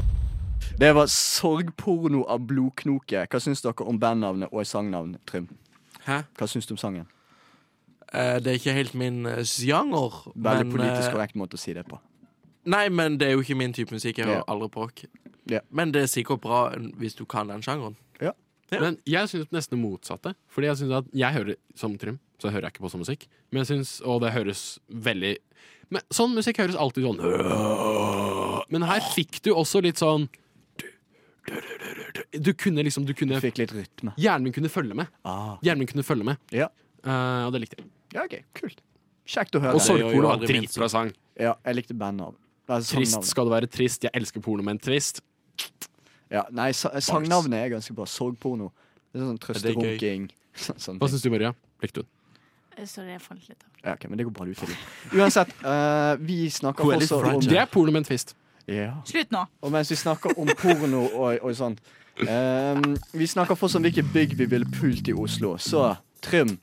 Det var sorgporno av blodknoke. Hva syns dere om bandnavnet og sangnavn, Trym?
Hæ?
Hva syns du om sangen?
Eh, det er ikke helt min eh, sjanger.
Veldig
men,
politisk
eh,
korrekt måte å si det på.
Nei, men det er jo ikke min type musikk. Jeg hører
Ja.
aldri på rock.
Ja.
Men det er sikkert bra hvis du kan den sjangeren.
Men jeg syns nesten det motsatte. Fordi jeg synes at jeg hører som Trym, så hører jeg ikke på sånn musikk. Men jeg synes, Og det høres veldig Men Sånn musikk høres alltid sånn Men her fikk du også litt sånn Du kunne liksom du kunne,
Fikk litt rytme.
Hjernen min kunne følge med.
Ah.
Hjernen min kunne følge med.
Ja.
Eh, og det likte jeg.
ja, OK. Kult. Kjekt å
Og
høre.
så- gjør jo
Sorgporno var
aldri min
dritbra sang. Sånn
ja, jeg likte bandnavn. Eh,
Trist
sangnavn.
skal du være trist. Jeg elsker porno med en twist.
Ja, nei, sa sangnavnet er ganske bra. Sorgporno. Det er sånn
det er gøy.
trøsterunking. Sånn, sånn
Hva syns du, Maria? Likte du den?
Eh, Sorry, jeg falt litt av.
Ja, ok, men det går bra du til. Uansett, eh, vi snakker
Who are
også
these
om
Det er porno med en twist.
ja.
Slutt nå.
Og mens vi snakker om porno og, og sånt ehm, Vi snakker fortsatt om hvilke bygg vi ville pult i Oslo. Så Trym,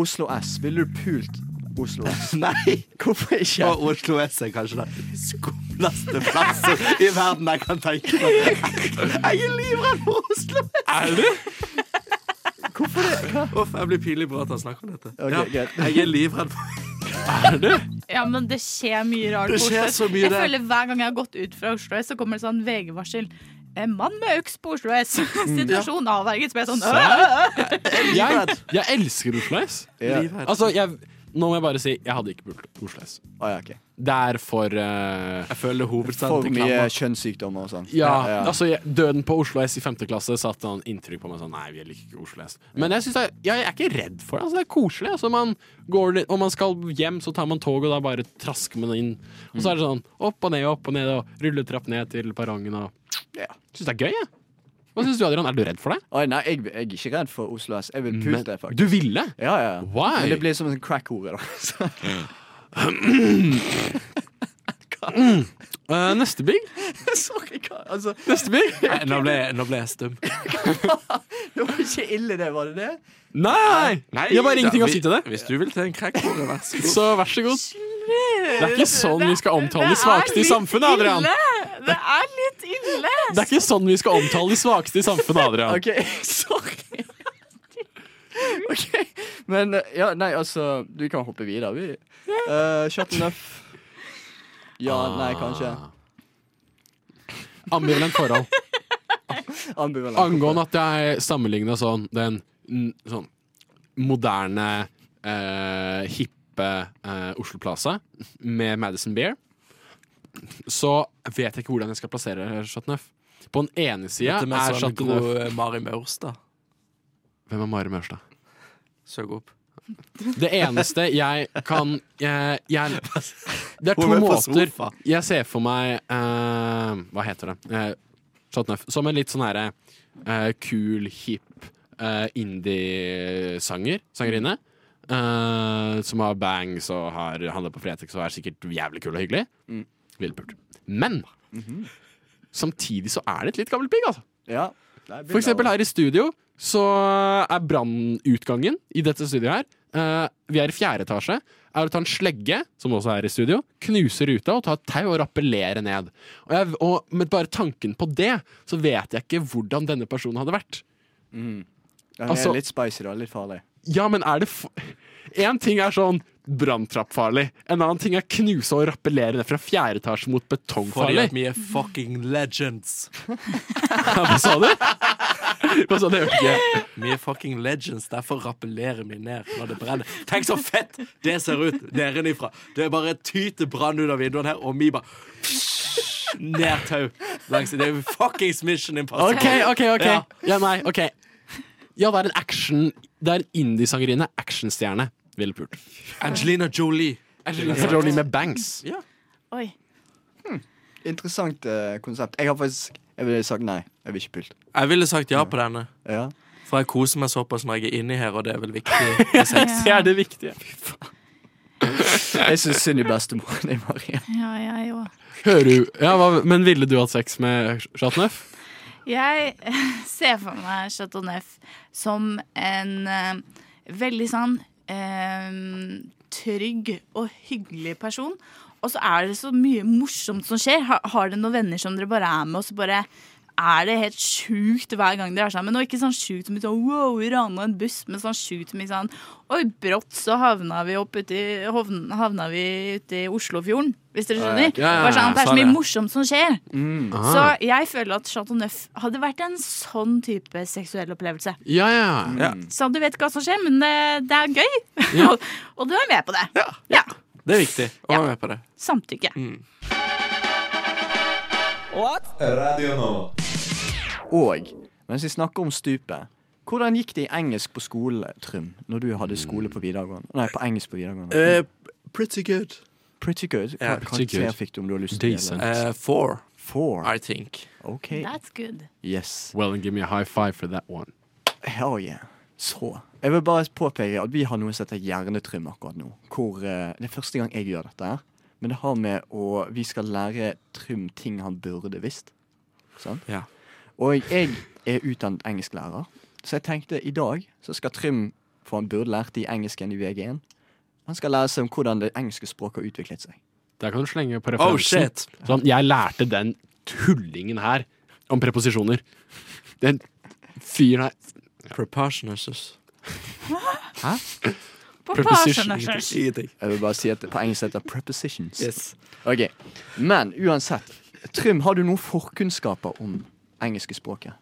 Oslo S. Ville du pult Oslo S?
Nei!
Hvorfor ikke?
Og Oslo S er kanskje den skumleste plassen i verden jeg kan tenke meg. Jeg er livredd for Oslo S! Er du?
Hvorfor det? Hva?
Uff, jeg blir pinlig bra at han snakker om dette.
Ok,
ja,
greit.
jeg er livredd for
Ja, men det skjer mye rart.
Det
på
skjer
Oslo S.
så mye
jeg
der.
føler hver gang jeg har gått ut fra Oslo S, så kommer det sånn VG-varsel. En mann med øks på Oslo S.
Mm,
Situasjonen avverget. Så blir jeg sånn «Åh!»
Jeg, jeg elsker Oslo S.
Ja.
livredd.
Altså, jeg, nå må jeg bare si jeg hadde ikke pult Oslo S.
Å, ja, ok.
Det er for eh,
Jeg føler hovedstaden
For
til
mye
Klammer.
kjønnssykdommer og sånn.
ja, altså jeg, Døden på Oslo S i 5. klasse satte han inntrykk på meg sånn Nei, vi liker ikke Oslo S. Men jeg, synes det er, ja, jeg er ikke redd for det. Altså, det er koselig. Altså, man går litt, om man skal hjem, så tar man toget, og da bare trasker man inn. Og så er det sånn opp og ned, opp og ned, og rulletrapp ned til perrongen og
Ja.
Syns det er gøy, jeg. Hva Hva syns du, Adrian? Er du redd for det?
Oi, nei, jeg, jeg er ikke redd for Oslo S. Jeg vil pult det, faktisk.
Du ville?
Ja, ja.
Why?
Men det blir som en sånn crack-hore, da. Så,
Eh, neste bygg?
Sorry, hva? Altså,
Neste bygg?
Nei, Nå ble, nå ble jeg stum.
det var ikke ille, det, var det det?
Nei! Jeg har bare ingenting å si til det.
Hvis du vil til en crackbord, vær så god.
Så vær så god. Det er ikke sånn vi skal omtale de svakeste i samfunnet, Adrian.
Ille. Det er litt ille.
Det er ikke sånn vi skal omtale de svakeste i samfunnet, Adrian.
OK, sorry. OK. Men eh, ja, nei, altså Vi kan hoppe videre, vi. Uh, shut enough. Ja, nei, kanskje.
Ambivalent forhold.
Ambivalent.
Angående at jeg sammenligna sånn den n- sånn moderne, eh, hippe eh, Oslo Plaza med Madison Beer, så vet jeg ikke hvordan jeg skal plassere Chateauneuf. På den ene sida
Dette med
er
sånn
Chateauneuf
god eh, Mari Maurstad.
Hvem er Mari Maurstad?
Søk opp.
Det eneste jeg kan jeg, jeg, Det er to
Hun er på
måter
sofa.
jeg ser for meg eh, Hva heter det? Eh, Chateauneuf. Som en litt sånn herre eh, kul, hipp eh, indie-sanger. Sangerinne. eh, som har bangs og har handler på Fretex og er sikkert jævlig kul og hyggelig.
Mm.
Ville pult. Men samtidig så er det et litt gammelt bygg, altså.
Ja. Nei,
For eksempel her i studio så er brannutgangen i dette studioet her eh, Vi er i fjerde etasje. Er å ta en slegge, som også er i studio, knuse ruta og ta et tau og rappellere ned. Og, jeg, og med bare tanken på det, så vet jeg ikke hvordan denne personen hadde vært.
Ja, hun er
altså-
litt spicy, da. Litt farlig.
Ja, men er det Én ting er sånn branntrappfarlig. En annen ting er knuse og rappellere ned fra fjerde etasje mot
Fordi
betongfarlig.
at vi er fucking legends.
Hva sa du? Hva sa du? Jeg hørte ikke.
Vi er fucking legends, derfor rappellerer vi ned når det brenner. Tenk så fett det ser ut nedenifra. Det er bare tyter brann ut av vinduene her, og vi bare ned tau. Langs. Det er fuckings Mission Impossible.
Ok, ok, ok
Ja.
ja. nei, ok Ja, det er en action Det er en indie-sangerine Actionstjerne Ville pult
Angelina Jolie.
Forlåning med Banks
Oi.
Interessant eh, konsept. Jeg har faktisk Jeg ville sagt nei. Jeg vil ikke pult.
Jeg ville sagt ja på denne,
Ja.
for jeg koser meg såpass når jeg er inni her, og det er vel viktig. i sex.
Det er det viktige
Jeg syns synd i bestemoren din, Marie.
Ja, jeg òg.
Hører du ja, hva, Men ville du hatt sex med Shatnef?
Jeg ser for meg Chateau Neuf som en eh, veldig sånn eh, trygg og hyggelig person. Og så er det så mye morsomt som skjer. Har, har dere noen venner som dere bare er med, og så bare er det helt sjukt hver gang dere er sammen? Og ikke sånn sjukt mye sånn wow, vi rana en buss, men sånn sjukt mye sånn oi, brått så havna vi opp uti, hovn, havna vi uti Oslofjorden, hvis dere skjønner.
ja,
Bare sånn, det er så
sånn,
mye
ja.
morsomt som skjer.
Ah.
Så jeg føler at Chateau Neuf hadde vært en sånn type seksuell opplevelse.
Ja, ja, ja.
Så du vet ikke hva som skjer, men det, det er gøy. og, og du er med på det. Ja.
Det er viktig å være med på det.
Samtykke.
Mm.
Og mens vi snakker om stupet hvordan gikk det i engelsk på skolen, Trym, når du hadde skole på videregående? Nei, på engelsk på videregående.
Eh, pretty good.
Pretty good. Hva
ja,
karakter
Eh, pretty good.
fikk du om du har lyst til
Decent.
det?
Eh, four,
Four.
I think.
OK.
That's good.
Yes.
Well, and give me a high five for that one
Hell yeah. Så. Jeg vil bare påpeke at vi har noe som heter hjernetrym akkurat nå. Hvor, eh, det er første gang jeg gjør dette her. Men det har med å Vi skal lære Trym ting han burde visst. Sant?
Ja.
Og jeg er utdannet engelsklærer, så jeg tenkte i dag så skal Trym For han burde lært det i engelsken i VG1. Han skal lære seg om hvordan det engelske språket har utviklet seg.
Der kan du slenge på
Oh
referansen
shit.
sånn, Jeg lærte den tullingen her Om preposisjoner Den fyren her
Prepartionuses.
På
Preposition.
Parsoners.
Jeg vil bare si at det på engelsk heter prepositions. Ok, Men uansett, Trym, har du noen forkunnskaper om engelske språket?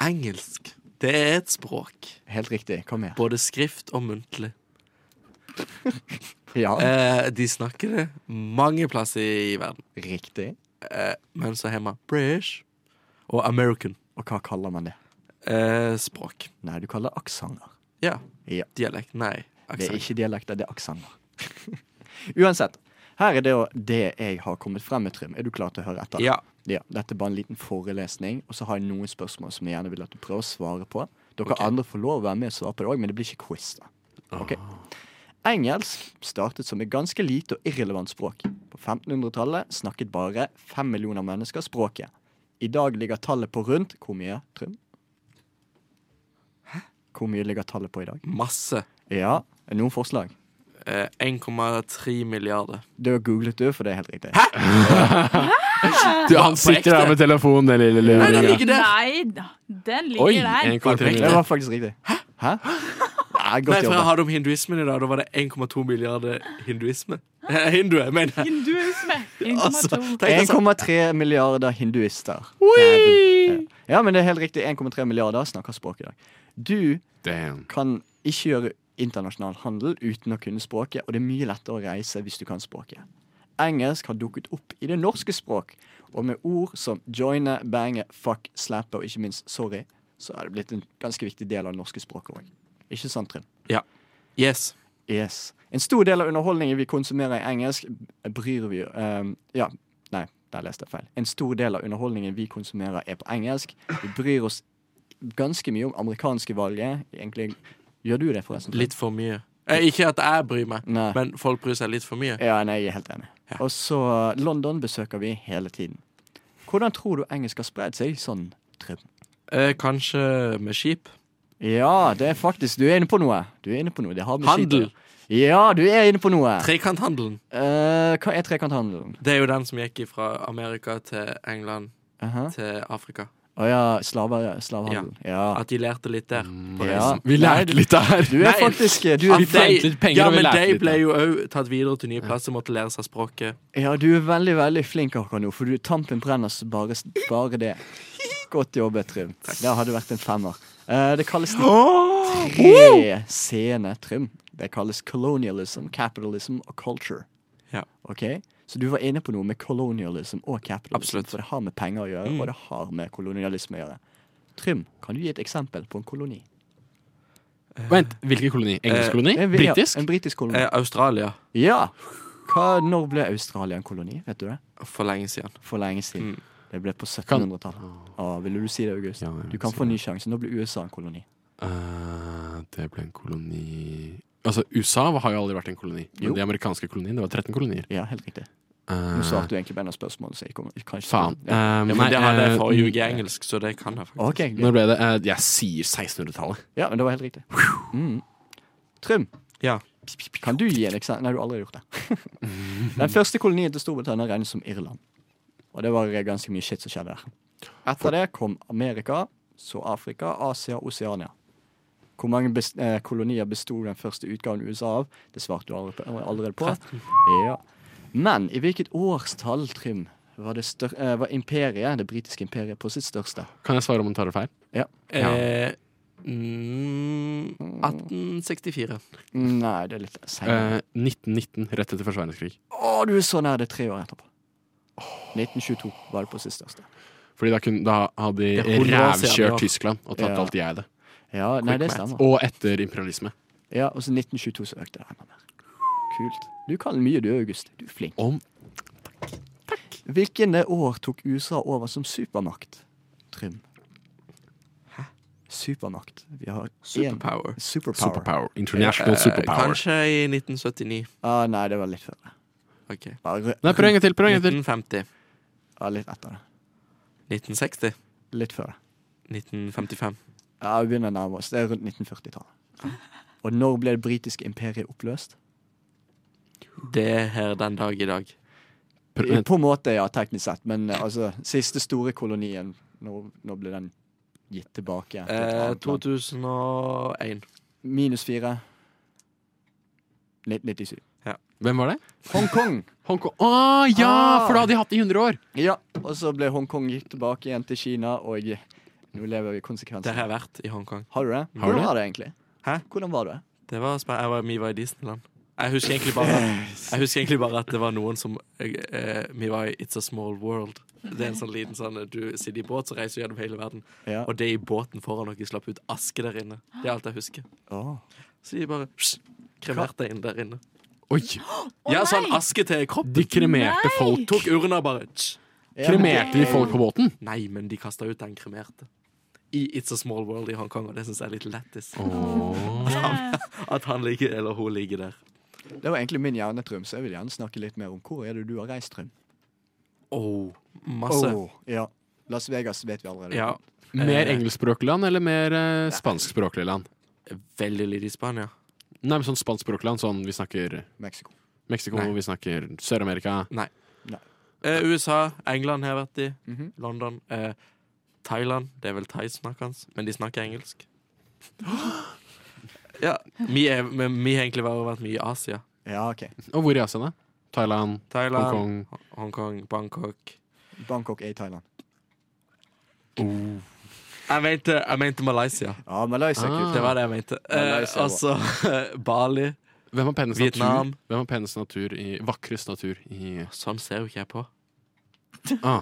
Engelsk. Det er et språk.
Helt riktig. Kom her.
Både skrift og muntlig.
Ja,
Eh, de snakker det mange plasser i verden.
riktig.
Eh, men så har man British og American
Og hva kaller man det?
eh, språk.
Nei, du kaller det aksenter.
Ja.
Ja.
Dialekt. Nei.
Det er
Aksent.
ikke dialekter, det er aksenter. Uansett. Her er det, jo det jeg har kommet frem med, Trym. Er du klar til å høre etter?
Ja.
Ja, dette er bare en liten forelesning, og så har jeg noen spørsmål som jeg gjerne vil at du prøver å svare på. Dere
Ok.
andre får lov å være med og svare på det òg, men det blir ikke quiz. da. Ok. Engelsk startet som et ganske lite og irrelevant språk. På 1500-tallet snakket bare fem millioner mennesker språket. I dag ligger tallet på rundt Hvor mye, Trym? Hvor mye ligger tallet på i dag?
Masse.
Ja, er det noen forslag?
Eh, 1,3 milliarder.
Det var googlet du, for det er helt riktig.
Du, han sitter der med telefonen, den lille luringen.
Nei da, den ligger
Oi, 1,3
der.
Det
milliarder.
var faktisk riktig. Hæ? Nei,
Nei,
godt
for jeg
jobba.
hadde om hinduismen i dag. Da var det 1,2 milliarder hinduisme. Eh, Hindue, mener jeg.
Hinduisme.
Altså,
1,2.
tenk altså.
1,3 milliarder hinduister. Dæven. Ja. Ja, men det er helt riktig. 1,3 milliarder snakker språk i dag. Du
Damn.
kan ikke gjøre internasjonal handel uten å kunne språket, og det er mye lettere å reise hvis du kan språket. Engelsk har dukket opp i det norske språk, og med ord som joine, bange, fuck, slappe og ikke minst sorry, så er det blitt en ganske viktig del av det norske språket òg. Ikke sant, Trym?
Yes.
Yes. En stor del av underholdningen vi konsumerer i engelsk, eh, bryr vi um, Ja, nei, der leste jeg feil. En stor del av underholdningen vi konsumerer, er på engelsk. Vi bryr oss ganske mye om amerikanske valget. Egentlig Gjør du det, forresten?
Litt for mye. Eh, ikke at jeg bryr meg,
Nei.
men folk bryr seg litt for mye.
Ja, nei, jeg er helt enig. Og så eh, London besøker vi hele tiden. Hvordan tror du engelsk har spredd seg sånn, Trym?
Eh, kanskje med skip.
Ja, det er faktisk Du er inne på noe. Du er inne på noe. Det har med
Handel.
skipet- Ja, du er inne på noe.
Trekanthandelen.
Eh, hva er trekanthandelen?
Det er jo den som gikk fra Amerika til England
Aha.
til Afrika.
Å ja, slaver, slavehandel. Ja.
At de lærte litt der. på
Ja.
reisen.
Vi lærte litt der.
Du er
Nei.
faktisk eh, du
At
er,
Vi tjente
de-
litt penger,
ja,
og vi
men
lærte
de
litt
ble
der.
jo òg tatt videre til nye plasser, måtte lære seg språket.
ja, du er veldig veldig flink akkurat nå, for du, tampen brenner så bare, bare det. Godt jobbet, Trym. Det hadde vært en femmer. Eh, det kalles den tre scene, Trym. Det kalles colonialism, capitalism og culture.
Ja.
Ok? Så du var inne på noe med colonialism og capitalism.
Absolutt.
For det har med penger å gjøre, og det har med kolonialisme å gjøre. Trym, kan du gi et eksempel på en koloni?
Vent, hvilken koloni? Engelsk koloni?
En- eh, ja,
Britisk?
En britisk koloni.
Eh, Australia
Ja! Hva, når ble Australia en koloni? Vet du det?
for lenge siden.
for lenge siden. Det ble på 1700-tallet. Ah, ville du si det, August?
Ja, jeg vil
du kan
si
få en ny sjanse. Nå blir USA en koloni.
Eh, det ble en koloni Altså, USA har jo aldri vært en koloni. Men
Jo.
de amerikanske koloniene, det var 13 kolonier.
Ja, helt riktig.
Eh,
Nå svarte du egentlig på en av spørsmålene, så jeg kommer kanskje
faen.
Ja.
Eh,
Ja,
nei,
men mm. det hadde
eh,
jeg forrige uke i engelsk, så det kan jeg faktisk.
Når
OK. greit.
ble det? Eh, jeg sier 1600-tallet.
Ja, men det var helt riktig. Mm. Trym,
Ja.
kan du gi en eksempel? Nei, du har aldri gjort det. Den første kolonien til Storbritannia regnes som Irland. Og det var ganske mye shit som skjedde der. Etter det kom Amerika, så Afrika, Asia og Oseania. Hvor mange bes eh, kolonier besto den første utgaven USA av? Det svarte du allerede på. Allerede på. Ja. Men i hvilket årstall, Trym, var, det stør eh, var imperiet, det britiske imperiet på sitt største?
Kan jeg svare om man tar det feil? Ja.
Eh, mm, 1864.
Nei, det er litt
Eh,
seinere.
1919, rett etter første verdenskrig.
Å, du er så nær det er tre år etterpå. 1922 var det på sitt største.
Fordi da, kunne, da hadde de
Det er 100 år siden, ja.
rævkjørt Tyskland og tatt
Ja.
alt de eide.
Ja, nei, det
math.
stemmer.
Og etter imperialisme.
Ja, Og så 1922 så økte det enda mer. Kult. Du kan mye, du, August. Du er flink.
Om
Hvilken år tok USA over som supermakt? Trym. Hæ? Supermakt. Vi har én
Superpower.
superpower.
superpower. International superpower.
Kanskje i 1979.
Ah, nei, det var litt før. det.
Ok.
Bare
Nei, prøv en gang til. Prøv en gang til.
1950.
ja, litt etter det.
1960.
Litt før det.
1955.
Ja, Vi begynner å nærme oss. Det er rundt 1940-tallet. Og når ble det britiske imperiet oppløst?
Det er her den dag i dag.
Prøv,
I- På en måte, ja, teknisk sett. Men eh, altså, siste store kolonien, når, når ble den gitt tilbake? til et
Eh,
annet land?
2001.
Minus fire. 1997.
hvem var det?
Hongkong!
Hongkong. Å ja!
Ah.
For da hadde de hatt det i 100 år.
Ja, og så ble Hongkong gitt tilbake igjen til Kina, og eh, nå lever vi i
Der har
konsekvenser.
jeg vært i Hongkong.
Har du det?
Har du
Hvordan
det?
var det egentlig?
Hæ?
Hvordan var det?
Det var spen- jeg var, Vi var i Disneyland. Jeg husker egentlig bare Jeg husker egentlig bare at det var noen som eh, Vi var i It's a Small World. Det er en sånn liten sånn eh, Du sitter i båt, så reiser du gjennom hele verden.
Ja.
Og det i båten foran dere slapp ut aske der inne. Det er alt jeg husker.
Åh.
Så de bare pss, kremerte inn der inne.
Oi.
ja, sånn aske til kroppen.
De kremerte folk.
Tok urna bare tsk.
Kremerte de folk på båten?
Nei, men de kasta ut den kremerte. I It's a Small World i Hongkong, og det syns jeg er litt lættis. At han ligger, eller hun ligger der.
Det var egentlig min hjernetrum, så jeg vil gjerne snakke litt mer om hvor er det du har reist, Trym.
Oh, masse.
Åh, ja. Las Vegas vet vi allerede.
Ja,
Mer
Eh.
engelskspråklig land eller mer eh, spanskspråklig land?
veldig lite i Spania.
Nei, men sånn spanskspråklig land, sånn vi snakker
Mexico.
Mexico,
Nei.
vi snakker Sør-Amerika.
Eh, USA, England har jeg vært i.
Mhm.
London. Eh, Thailand. Det er vel thaisnakkende, men de snakker engelsk. ja, vi, er, men vi har egentlig bare vært mye i Asia.
Ja, ok.
Og hvor i Asia, da? Thailand,
Thailand, Hongkong,
Hongkong
Bangkok.
Bangkok er i Thailand.
Jeg mente, jeg mente Malaysia.
Ja, Malaysia er kult.
Det var det jeg mente. Eh,
Ah. Malaysia var-
altså Bali.
Hvem har penest
Vietnam.
natur? Hvem har penest natur i Vakrest natur i
Sånn ser jo ikke jeg på.
ah.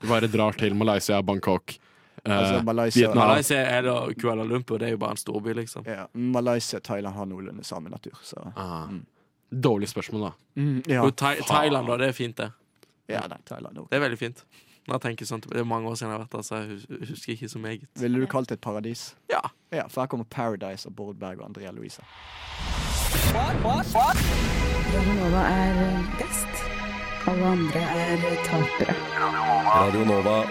Du bare drar til Malaysia, Bangkok, eh,
Altså, Malaysia-
Vietnam
Malaysia eller Kuala Lumpur, det er jo bare en storby, liksom.
Ja, Malaysia og Thailand har noenlunde samme natur, så
Ah.
Mm.
Dårlig spørsmål, da.
mm, ja.
Jo, Thai Thailand, da. Det er fint, det.
ja, nei, Thailand også.
Det er veldig fint. Når jeg tenker sånn, Det er mange år siden jeg har vært der, så jeg hus- husker ikke så meget.
Ville du kalt det et paradis?
Ja.
Ja, for her kommer Paradise av Bård Berg og Andrea Louisa.
Radio Nova er eh, best. Alle andre er eh, tapere. Mm.
Radio Nova.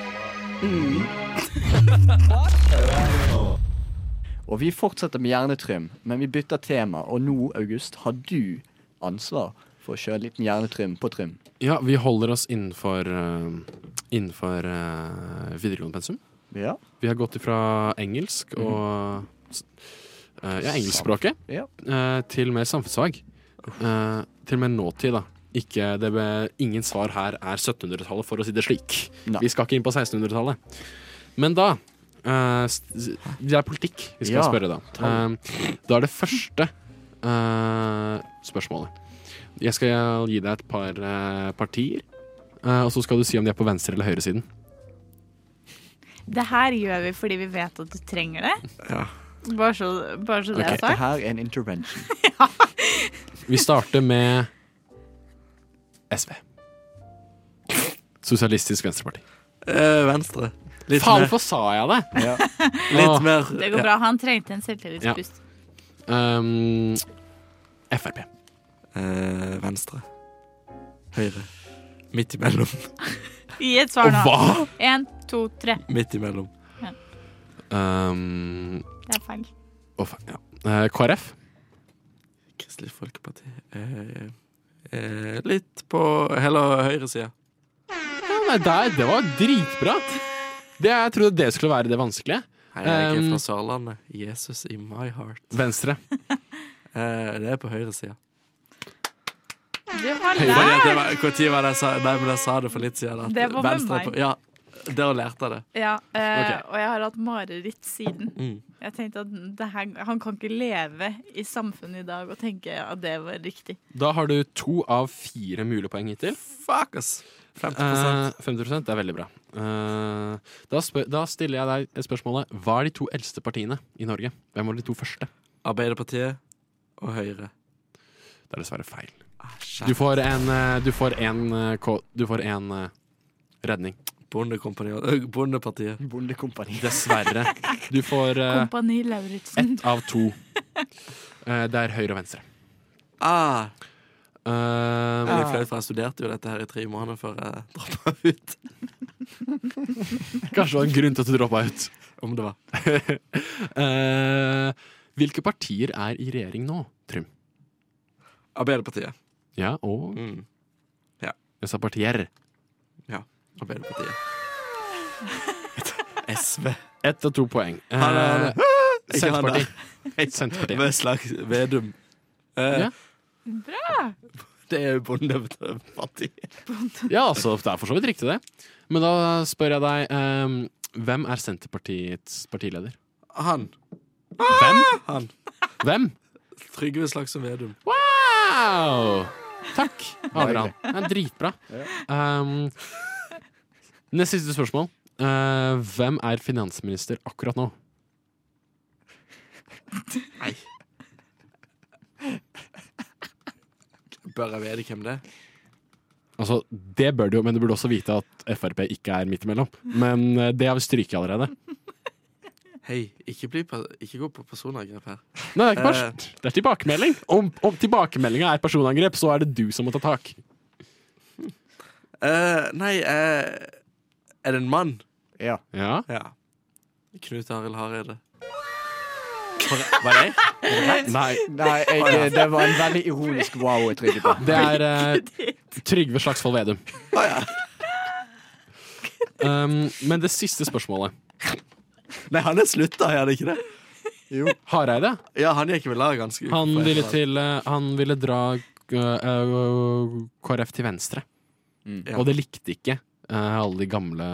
Og vi fortsetter med hjernetrym, men vi bytter tema, og nå, August, har du ansvar for å kjøre en liten hjernetrym på trym.
Ja, vi holder oss innenfor, eh, innenfor eh, videregående pensum.
Ja,
Vi har gått ifra engelsk
Mhm.
og eh, Ja, engelskspråket
ja.
eh, til mer samfunnsfag. Eh, til mer nåtid, da. Ikke, det be, ingen svar her er 1700-tallet, for å si det slik.
Nei.
Vi skal ikke inn på 1600-tallet. Men da eh, s- Det er politikk vi skal
Ja,
spørre, da. Eh, da er det første eh, spørsmålet. Jeg skal gi deg et par eh, partier, eh, og så skal du si om de er på venstre- eller høyresiden.
Det her gjør vi fordi vi vet at du trenger det. Bare så, bare så det
Ok.
er
Det
sagt.
her er en intervention.
Vi starter med SV. Sosialistisk Venstreparti.
Eh, venstre. Litt
Faen,
mer.
hvorfor sa jeg det?
Ja.
Litt mer
Det går
ja.
bra. Han trengte en selvtillitspust.
Um, Frp.
Eh, venstre. Høyre. Midt imellom.
Gi et svar nå.
Hva?
Én, to, tre.
Midt imellom.
Um,
Det er feil.
å, faen, ja. Eh, KrF.
Kristelig Folkeparti. Eh, eh, litt på heller høyresida.
Ja, nei, der, det var dritbra. Det, jeg trodde det skulle være det vanskelige.
Nei, jeg er
Um,
fra Sørlandet. Jesus in my heart.
Venstre.
Eh, det er på høyresida.
Det var
Når
lært.
var det jeg sa Nei, men jeg sa det for litt siden. At
Det var med
venstre er
meg.
på, ja, der lærte jeg det.
Ja, eh,
Ok.
og jeg har hatt mareritt siden.
Mm.
Jeg tenkte at det her, Han kan ikke leve i samfunnet i dag og tenke at det var riktig.
Da har du to av fire mulige poeng hittil.
Fuck, ass. 50
Eh, 50 det er veldig bra. Eh, da, spør, da stiller jeg deg spørsmålet Hva er de to eldste partiene i Norge? Hvem var de to første?
Arbeiderpartiet og Høyre.
Det er dessverre feil.
Ah,
Du får en, eh, du får en, eh, ko- du får en eh, redning.
Bondekompaniet øh, Bondepartiet.
Bondekompani.
Dessverre. Du får eh,
Kompani Lauritzen.
ett av to. Eh, det er høyre og venstre.
Ah,
Eh,
veldig flaut, for jeg studerte jo dette her i tre måneder før jeg droppa ut.
Kanskje det var en grunn til at du droppa ut.
Om det var.
Eh, hvilke partier er i regjering nå, Trym?
Arbeiderpartiet.
Ja, og
Mm.
Jeg sa partier.
Arbeiderpartiet. SV.
Ett av to poeng. Eh,
Han er- Ikke han
Senterpartiet.
der.
Senterpartiet.
Med slags Vedum. Eh,
Ja.
Det er jo Bondepartiet.
Ja, altså, det er for så vidt riktig, det. Men da spør jeg deg eh, Hvem er Senterpartiets partileder?
Han.
Hvem?
Han.
Hvem?
Trygve Slagsvold Vedum.
Wow! Takk, Adrian. Det er dritbra. Um, nest siste spørsmål. Uh, hvem er finansminister akkurat nå?
bør jeg vite hvem det er?
Altså, det bør du jo, men du burde også vite at Frp ikke er midt imellom. Men eh, det har vi stryket allerede.
Hei, ikke, bli, per- ikke gå på personangrep her.
Nei, det er
Eh.
ikke pers. Det er tilbakemelding. Om, om tilbakemeldinga er personangrep, så er det du som må ta tak.
Eh, nei, eh, er det en mann?
Ja.
Ja.
Ja. Knut Arild Hareide. Var det- Var det?
Nei,
Nei, jeg, eh, det var en veldig ironisk wow jeg trykket på.
det er eh, Trygve Slagsvold Vedum. Um, men det siste spørsmålet.
Nei, han er slutta, er han ikke det?
Hareide,
Ja, han gikk vel av ganske
han ville, til, eh, han ville dra eh, eh, KrF til venstre.
Ja.
Og det likte ikke eh, alle de gamle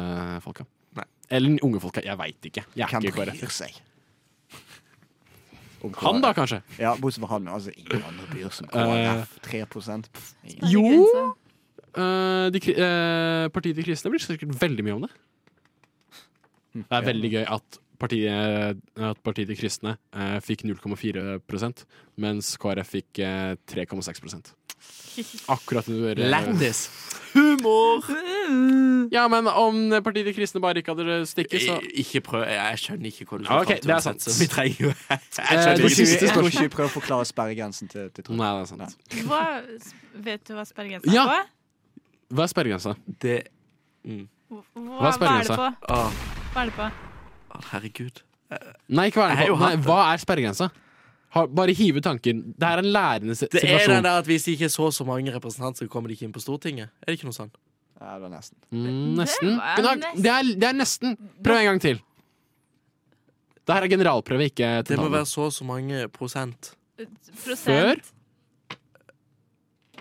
folka.
Nei.
Eller de unge folka. Jeg veit ikke. Jeg er
Hvem
ikke KrF.
bryr seg? Om
Han da, kanskje?
Ja, bortsett fra han. men Altså, ingen andre bryr seg om
Eh.
KrF. 3 pff, ingen.
Jo.
Fargegrense.
Eh, de, kri- eh, partiet De kristne blir sikkert veldig mye om det.
Hm.
Det er veldig gøy at partiet, at partiet De kristne eh, fikk 0,4 mens KrF fikk eh, 3,6 Akkurat under eh,
Lættis. Humor!
Ja, men om Partiet De kristne bare ikke hadde stikket, så
I- Ikke prøv, jeg, jeg skjønner ikke hva du
Ja, ok,
fram
det
til
er
uansett,
sant.
så Vi trenger jo Jeg
Eh,
skjønner
det
Jeg tror
ikke.
siste-
ikke- jeg tror ikke vi prøver å forklare sperregrensen til, til Trond.
Nei, det er sant.
Hva, vet du hva sperregrensa er
Ja.
på?
Hva er sperregrensa?
Det,
Hva,
Hva
hva,
er
er det på?
sperregrensa?
å,
Hva er det på?
herregud.
Nei, ikke hva er
Jeg har jo
den på? Nei,
hatt det.
hva er sperregrensa? Ha, bare hive ut tanken. Det er en lærende si-
Det er den
situasjon.
der at hvis ikke så så mange representanter, så kommer de ikke inn på Stortinget. Er det ikke noe sånn? sånt?
Ja, det var nesten.
Mm,
Det
nesten.
var
Men da-
nesten.
Det er, det er nesten. Prøv en gang til. Det her er generalprøve, ikke
Det må
tentamen.
være så og så mange prosent
Før?
Prosent?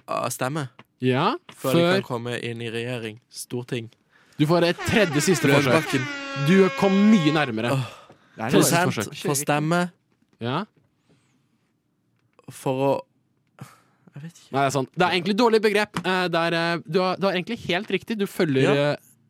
av stemme
Ja,
før, de
før
kan komme inn i regjering. Storting.
Du får et tredje siste forsøk.
Løvebakken.
Du kom mye nærmere.
Åh.
Nei, det var-
Prosent for stemme
Ja.
for å Jeg vet ikke.
Nei, det er sånn. Det er egentlig et dårlig begrep. Eh, det er, eh, du, har, du har egentlig helt riktig. Du følger
Ja.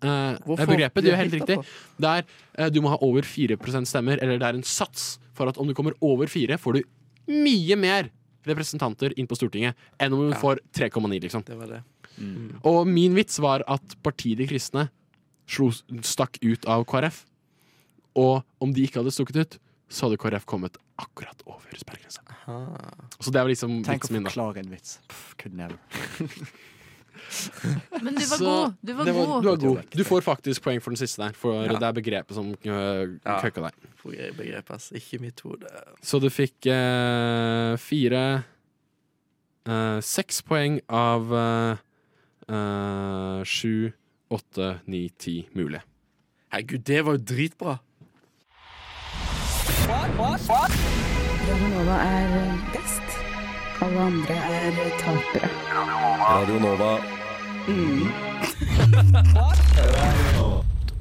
eh, eh,
Hvorfor
begrepet. Du
blir
er helt
jeg
riktig.
hittet
Det er eh, du må ha over 4 stemmer, eller det er en sats for at om du kommer over 4, får du mye mer representanter inn på Stortinget enn om du får 3,9, liksom.
Det var det.
Og min vits var at partiet De kristne slo, stakk ut av KrF. Og om de ikke hadde stukket ut, så hadde KrF kommet akkurat over sperregrensa. Så det var liksom
Tenk
vitsen
å
min, da.
forklare en vits. Pff, could never.
Men du var
Så-
god. Du var
Det var-
god.
Du, var god. du får faktisk poeng for den siste der, for det er begrepet som øh,
Ja.
køkka deg.
For jeg begrep, ass. Ikke mitt hode.
Så du fikk eh, fire eh, Seks poeng av eh, eh, sju, åtte, ni, ti mulige.
Herregud, det var jo dritbra.
Radio Nova er best. Alle andre er tapere.
Radio Nova.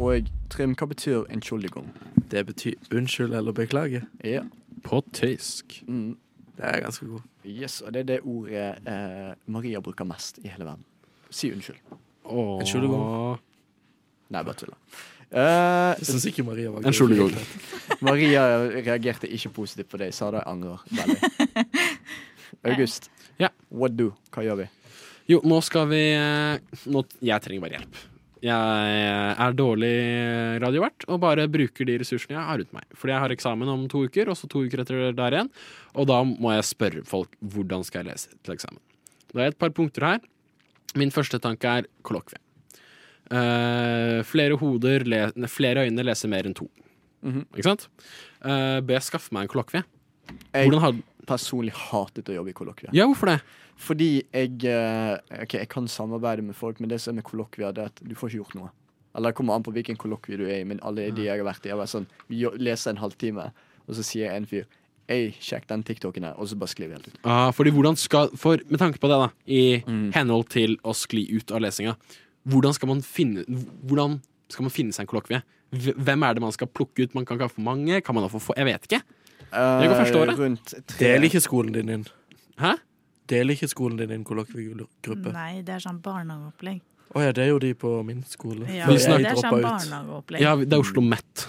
Og Trym, hva betyr entschuldigung?
Det betyr unnskyld eller beklage.
Ja.
På tysk.
Mm.
Det er ganske god.
Yes, og det er det ordet eh, Maria bruker mest i hele verden. Si unnskyld.
Entschuldigung.
Nei, bare tuller. Eh,
Jeg syns ikke Maria var
Entschuldigung.
Maria reagerte ikke positivt på det jeg sa, da jeg angrer veldig. August,
Ja.
what do? Hva gjør vi?
Jo, nå skal vi eh, nå, Jeg trenger bare hjelp. Jeg eh, er dårlig radiovert og bare bruker de ressursene jeg har rundt meg. Fordi jeg har eksamen om to uker, og så to uker etter der igjen. Og da må jeg spørre folk hvordan skal jeg lese til eksamen. Da har jeg et par punkter her. Min første tanke er kollokvie. Eh, flere hoder le, nei, Flere øyne leser mer enn to. Ikke sant? Eh, bør jeg skaffe meg en kollokvie?
Jeg
Hvordan har
personlig hatet å jobbe i kollokvier.
Ja, hvorfor det?
Fordi jeg eh, Ok, jeg kan samarbeide med folk, men det som er med kollokvier, det er at du får ikke gjort noe. Eller det kommer an på hvilken kollokvie du er i, men alle de jeg har vært i, har vært sånn Vi jo- leser en halvtime, og så sier en fyr Ei, sjekk den TikToken her, og så bare sklir vi helt ut.
Ah, fordi hvordan skal, for Med tanke på det, da, i
Mm.
henhold til å skli ut av lesinga, hvordan skal man finne, hvordan skal man finne seg en kollokvie? Hv- Hvem er det man skal plukke ut? Man kan ikke ha for mange. Kan man ha for få? Jeg vet ikke.
Jeg
går første året.
Eh, Rundt tre
Del ikke skolen din inn.
Hæ?
Del ikke skolen din inn kollokviegruppe.
Nei, det er sånn barnehageopplegg.
Å ja, det er jo de på min skole.
Ja,
Vi
det
snakker-
er sånn
droppa ut.
barnehageopplegg.
Ja, det er Oslo Met.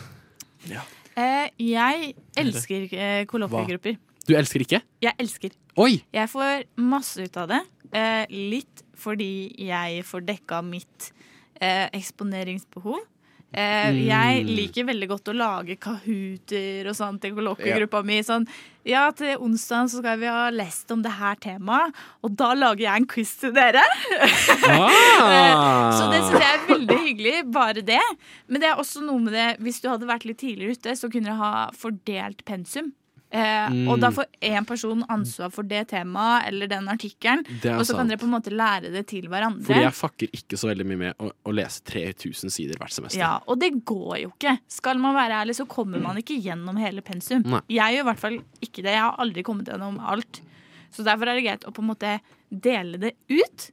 Eh, jeg elsker eh, kollokviegrupper.
Du elsker ikke?
Jeg elsker.
Oi!
Jeg får masse ut av det. Eh, litt fordi jeg får dekka mitt eh, eksponeringsbehov. Eh,
Mm.
Jeg liker veldig godt å lage kahooter og sånn til kollokkegruppa mi. Sånn, ja, til onsdag så skal vi ha lest om det her temaet, og da lager jeg en quiz til dere. Så det syns jeg er veldig hyggelig, bare det. Men det er også noe med det, hvis du hadde vært litt tidligere ute, så kunne du ha fordelt pensum. Eh, Og
Mm.
da får én person ansvar for det temaet eller den artikkelen.
Det er
Og så kan
sant.
dere på en måte lære det til hverandre.
Fordi jeg fucker ikke så veldig mye med å, å lese 3000 sider hvert semester.
Ja, Og det går jo ikke. Skal man være ærlig, så kommer man ikke gjennom hele pensum.
Nei.
Jeg gjør i hvert fall ikke det. Jeg har aldri kommet gjennom alt. Så derfor er det greit å på en måte dele det ut.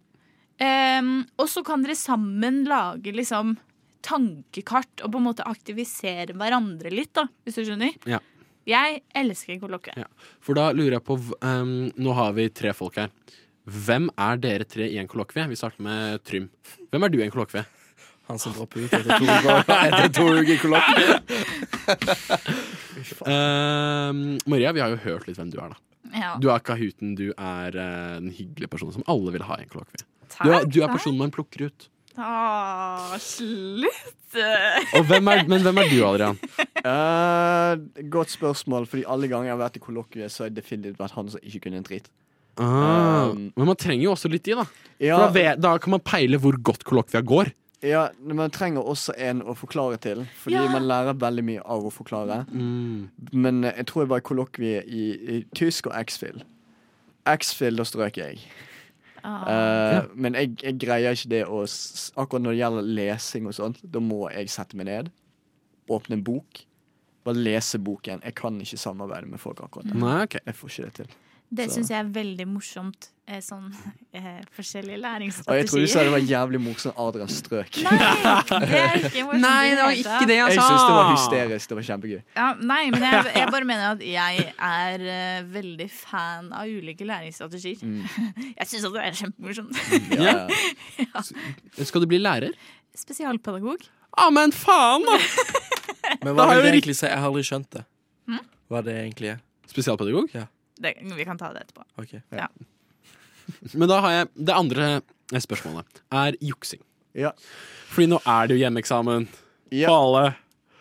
Ehm, og så kan dere sammen lage liksom tankekart og på en måte aktivisere hverandre litt, da, hvis du skjønner.
Ja.
Jeg elsker kollokviet.
For da lurer jeg på v- ehm, Nå har vi tre folk her. Hvem er dere tre i en kollokvie? Vi starter med Trym. Hvem er du i en kollokvie?
Han som dropper ut etter to uker, etter to uker kollokvie.
Ehm, Maria, vi har jo hørt litt hvem du er, da.
Ja.
Du er kahooten. Du er eh, den hyggelige personen som alle vil ha i en kollokvie.
Takk,
Du er, du er
takk.
personen man plukker ut.
Ah, slutt!
Og hvem er, men hvem er du, Adrian?
Eh, godt spørsmål, fordi alle ganger jeg har vært i kollokviet, så har jeg definitivt vært han som ikke kunne en drit.
Ah,
Ehm.
men man trenger jo også litt i, da. For da,
Ja,
ve- da kan man peile hvor godt kollokvia går.
ja, men man trenger også en å forklare til, fordi
Ja.
man lærer veldig mye av å forklare.
Mm.
Men eh, jeg tror jeg var i kollokvie i, i tysk og X-Fill. X-Fill, da strøk jeg.
Ah,
Eh, Men jeg, jeg greier ikke det å s- Akkurat når det gjelder lesing og sånt, da må jeg sette meg ned, åpne en bok, bare lese boken. Jeg kan ikke samarbeide med folk akkurat der.
Nei, ok
Jeg får ikke det til.
det
så-
syns jeg er veldig morsomt. eh, Sånn eh, forskjellige
Og jeg trodde du
læringsstrategier.
sa det var jævlig morsomt Adrian strøk.
Nei, det er ikke morsomt. i hele tatt.
Jeg syns det var hysterisk. Det var kjempegøy.
Ja, nei, men jeg, jeg bare mener at jeg er eh, veldig fan av ulike læringsstrategier.
Mm.
Jeg syns at det er kjempemorsomt.
Ja.
Skal du bli lærer?
Spesialpedagog.
Ja, men faen, da!
Men
Da
hva
har jeg
vil det
jo
egentlig si? Jeg har aldri skjønt det.
Hm?
Hva det egentlig er.
Spesialpedagog.
Det, vi kan ta det etterpå.
Ok.
Men da har jeg det andre spørsmålet. Er juksing.
Ja.
Fordi nå er det jo hjemmeeksamen
Ja.
på alle.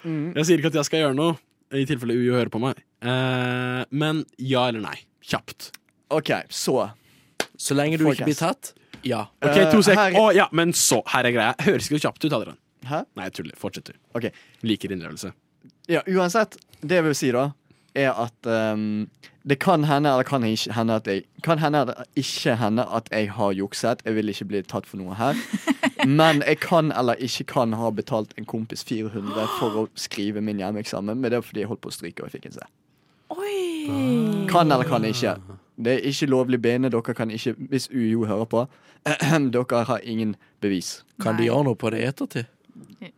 Mm.
Jeg sier ikke at jeg skal gjøre noe, i tilfelle UiO hører på meg. Eh, men ja eller nei? Kjapt.
OK, så
Så lenge du
Forecast.
ikke blir tatt, ja.
Ok,
Eh,
to sek.
her-
Å ja, men så. Her er greia. Høres ikke kjapt ut, Adrian.
Hæ?
Nei, jeg tuller. Fortsett, du.
Ok.
Liker innlevelse.
Ja, uansett, det jeg vil si da, er at ehm, det kan hende eller kan ikke hende at jeg Kan hende eller ikke hende at jeg har jukset. Jeg vil ikke bli tatt for noe her. Men jeg kan eller ikke kan ha betalt en kompis 400 for å skrive min hjemmeeksamen. Men det er fordi jeg holdt på å stryke og jeg fikk en C.
Oi!
Kan eller kan ikke. Det er ikke lovlig bene. Dere kan ikke, hvis UiO hører på, dere har ingen bevis.
Kan de gjøre noe på det i ettertid?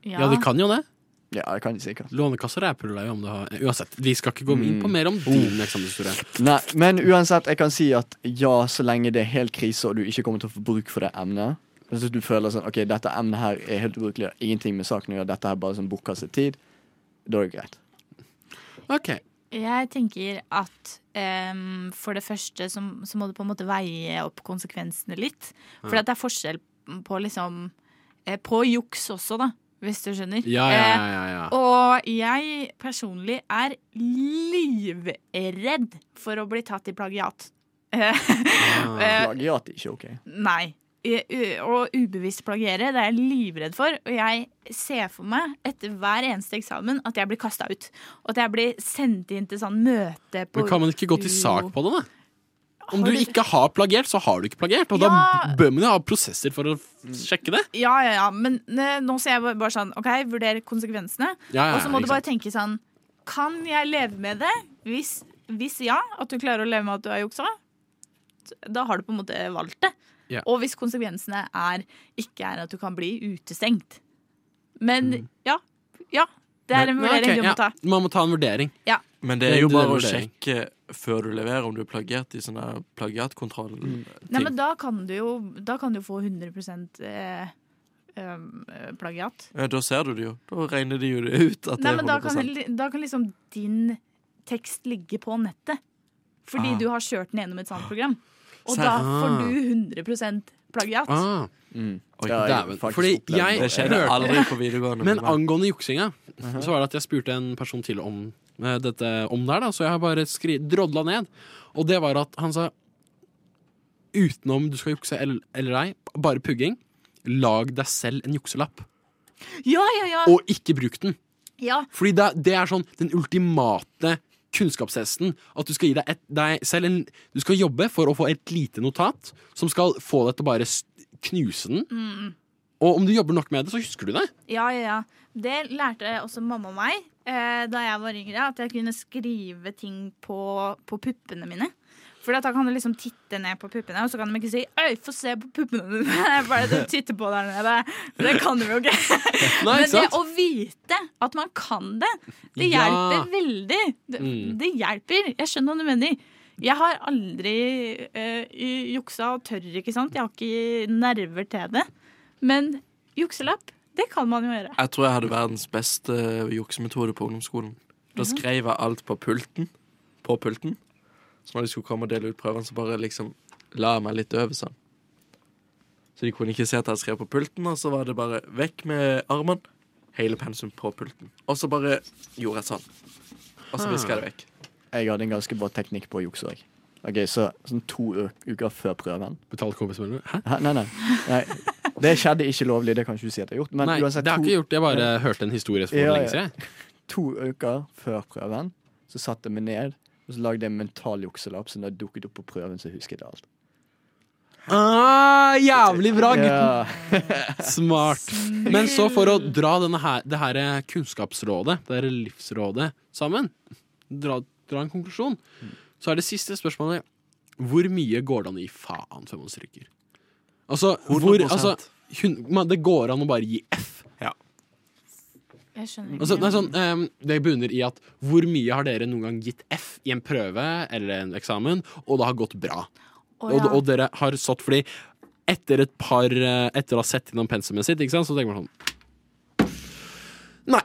Ja, de kan jo det.
Ja, det kan de sikkert.
Lånekasser ræper deg jo om det har eh, Uansett, vi skal ikke gå inn
Mm.
på
Oh.
mer om din eksamenshistorie.
Nei, men uansett, jeg kan si at ja, så lenge det er helt krise, og du ikke kommer til å få bruk for det emnet. Hvis du føler sånn, ok, dette emnet her er helt ubrukelig, og har ingenting med saken å gjøre, dette er bare sånn bortkastet tid, da er det greit.
Ok,
Jeg tenker at em, for det første så, så må du på en måte veie opp konsekvensene litt. For at det er forskjell på liksom eh, På juks også, da, hvis du skjønner.
Ja, ja,
Eh,
ja, ja, ja.
Og jeg personlig er livredd for å bli tatt i plagiat. Eh,
Plagiat er ikke ok.
Nei. I- u- Og ubevisst plagiere, det er jeg livredd for. Og jeg ser for meg etter hver eneste eksamen at jeg blir kasta ut. Og at jeg blir sendt inn til sånn møte på
Men kan man ikke gå til sak på det, da? Om du
Har du-
ikke har plagiert, så har du ikke plagiert. Og da
Ja.
bør man jo ha prosesser for å f-
Mm.
sjekke det.
Ja, ja, ja. Men eh, nå ser jeg bare- bare sånn OK, vurder konsekvensene.
Ja, ja,
og så
ikke
må du bare tenke sånn Kan jeg leve med det? Hvis, hvis ja, at du klarer å leve med at du har juksa, da har du på en måte valgt det.
Ja.
Og hvis konsekvensene er, ikke er at du kan bli utestengt. Men ja. Ja. Det er en
Mm. Nei,
vurdering
ok,
du
ja,
må ta.
Man må ta en vurdering.
Men det
Det-
er jo
det er
bare å
vurdering.
sjekke før du leverer om du er plagiert i sånne plagiatkontroll.
Nei, men da kan du jo da kan du få 100 eh, um, eh, plagiat.
Ja, da ser du det jo. Da regner de jo det sånn. ut at
Nei,
det
men da
er
kan,
100
li- da kan liksom din tekst ligge på nettet. Fordi
Ah.
du har kjørt den gjennom et sånt program. Og
Serr-
da
Ah.
får du 100 plagiat.
Ah,
Oi,
dæven. Fordi jeg
Det skjedde
hørte
aldri på videregående.
Men
med meg.
angående juksinga, så var det at jeg spurte en person til om eh, dette om der, da, så jeg har bare skri drodla ned. Og det var at han sa utenom du skal jukse eller, eller ei, bare pugging, lag deg selv en jukselapp,
Ja, ja, ja.
og ikke bruk den.
ja.
Fordi det, det er sånn den ultimate kunnskapstesten. At du skal gi deg, et, deg selv en Du skal jobbe for å få et lite notat som skal få deg til å bare s- knuse den.
Mm.
Og om du jobber nok med det, så husker du det.
Ja, ja, ja. Det lærte også mamma og meg eh, da jeg var yngre, at jeg kunne skrive ting på, på puppene mine. For da kan du liksom titte ned på puppene, og så kan de ikke si 'Øy, få se på puppene dine'. Hva er det du titter på der nede? For det kan de jo ikke.
Nei,
Men
ikke
det
sant?
å vite at man kan det, det
Ja.
hjelper veldig. Det,
Mm.
det hjelper. Jeg skjønner hva du mener. Jeg har aldri eh, i- juksa og tør, ikke sant. Jeg har ikke nerver til det. Men jukselapp, det kan man jo gjøre.
Jeg tror jeg hadde verdens beste juksemetode på ungdomsskolen. Da
Mhm.
skrev jeg alt på pulten. På pulten. Så når de skulle komme og dele ut prøven, så bare liksom la jeg meg litt over sånn. Så de kunne ikke se at jeg skrev på pulten, og så var det bare vekk med armen. Hele pensum på pulten. Og så bare gjorde jeg sånn. Og så viska jeg det vekk.
Jeg hadde en ganske bra teknikk på å jukse òg. Ok, så sånn to u- uker før prøven
Betalte kompisen min Hæ?
Hæ? Nei, nei, nei. Det skjedde ikke lovlig, det kan ikke du si at jeg har gjort. Men
Nei,
uansett,
det har jeg ikke
to,
gjort. Jeg bare hørte en historie for
Ja,
lenge
ja.
siden.
to uker før prøven så satte jeg meg ned og så lagde jeg en mental jukselapp som da dukket opp på prøven, så husket jeg alt.
Ah, jævlig bra,
Ja.
Smart. Men så for å dra denne her, det her kunnskapsrådet, det her livsrådet, sammen, dra, dra en konklusjon, så er det siste spørsmålet Hvor mye går det an å gi faen før man stryker? Altså, hvor,
100%.
altså hun, man, Det går an å bare gi F.
Jeg skjønner ikke.
Altså, nei, sånn, ehm, det bunner i at hvor mye har dere noen gang gitt F i en prøve eller en eksamen, og det har gått bra?
Å,
Og,
ja.
og dere har stått fordi etter et par eh, Etter å ha sett gjennom pensumet sitt, ikke sant, så tenker man sånn Nei.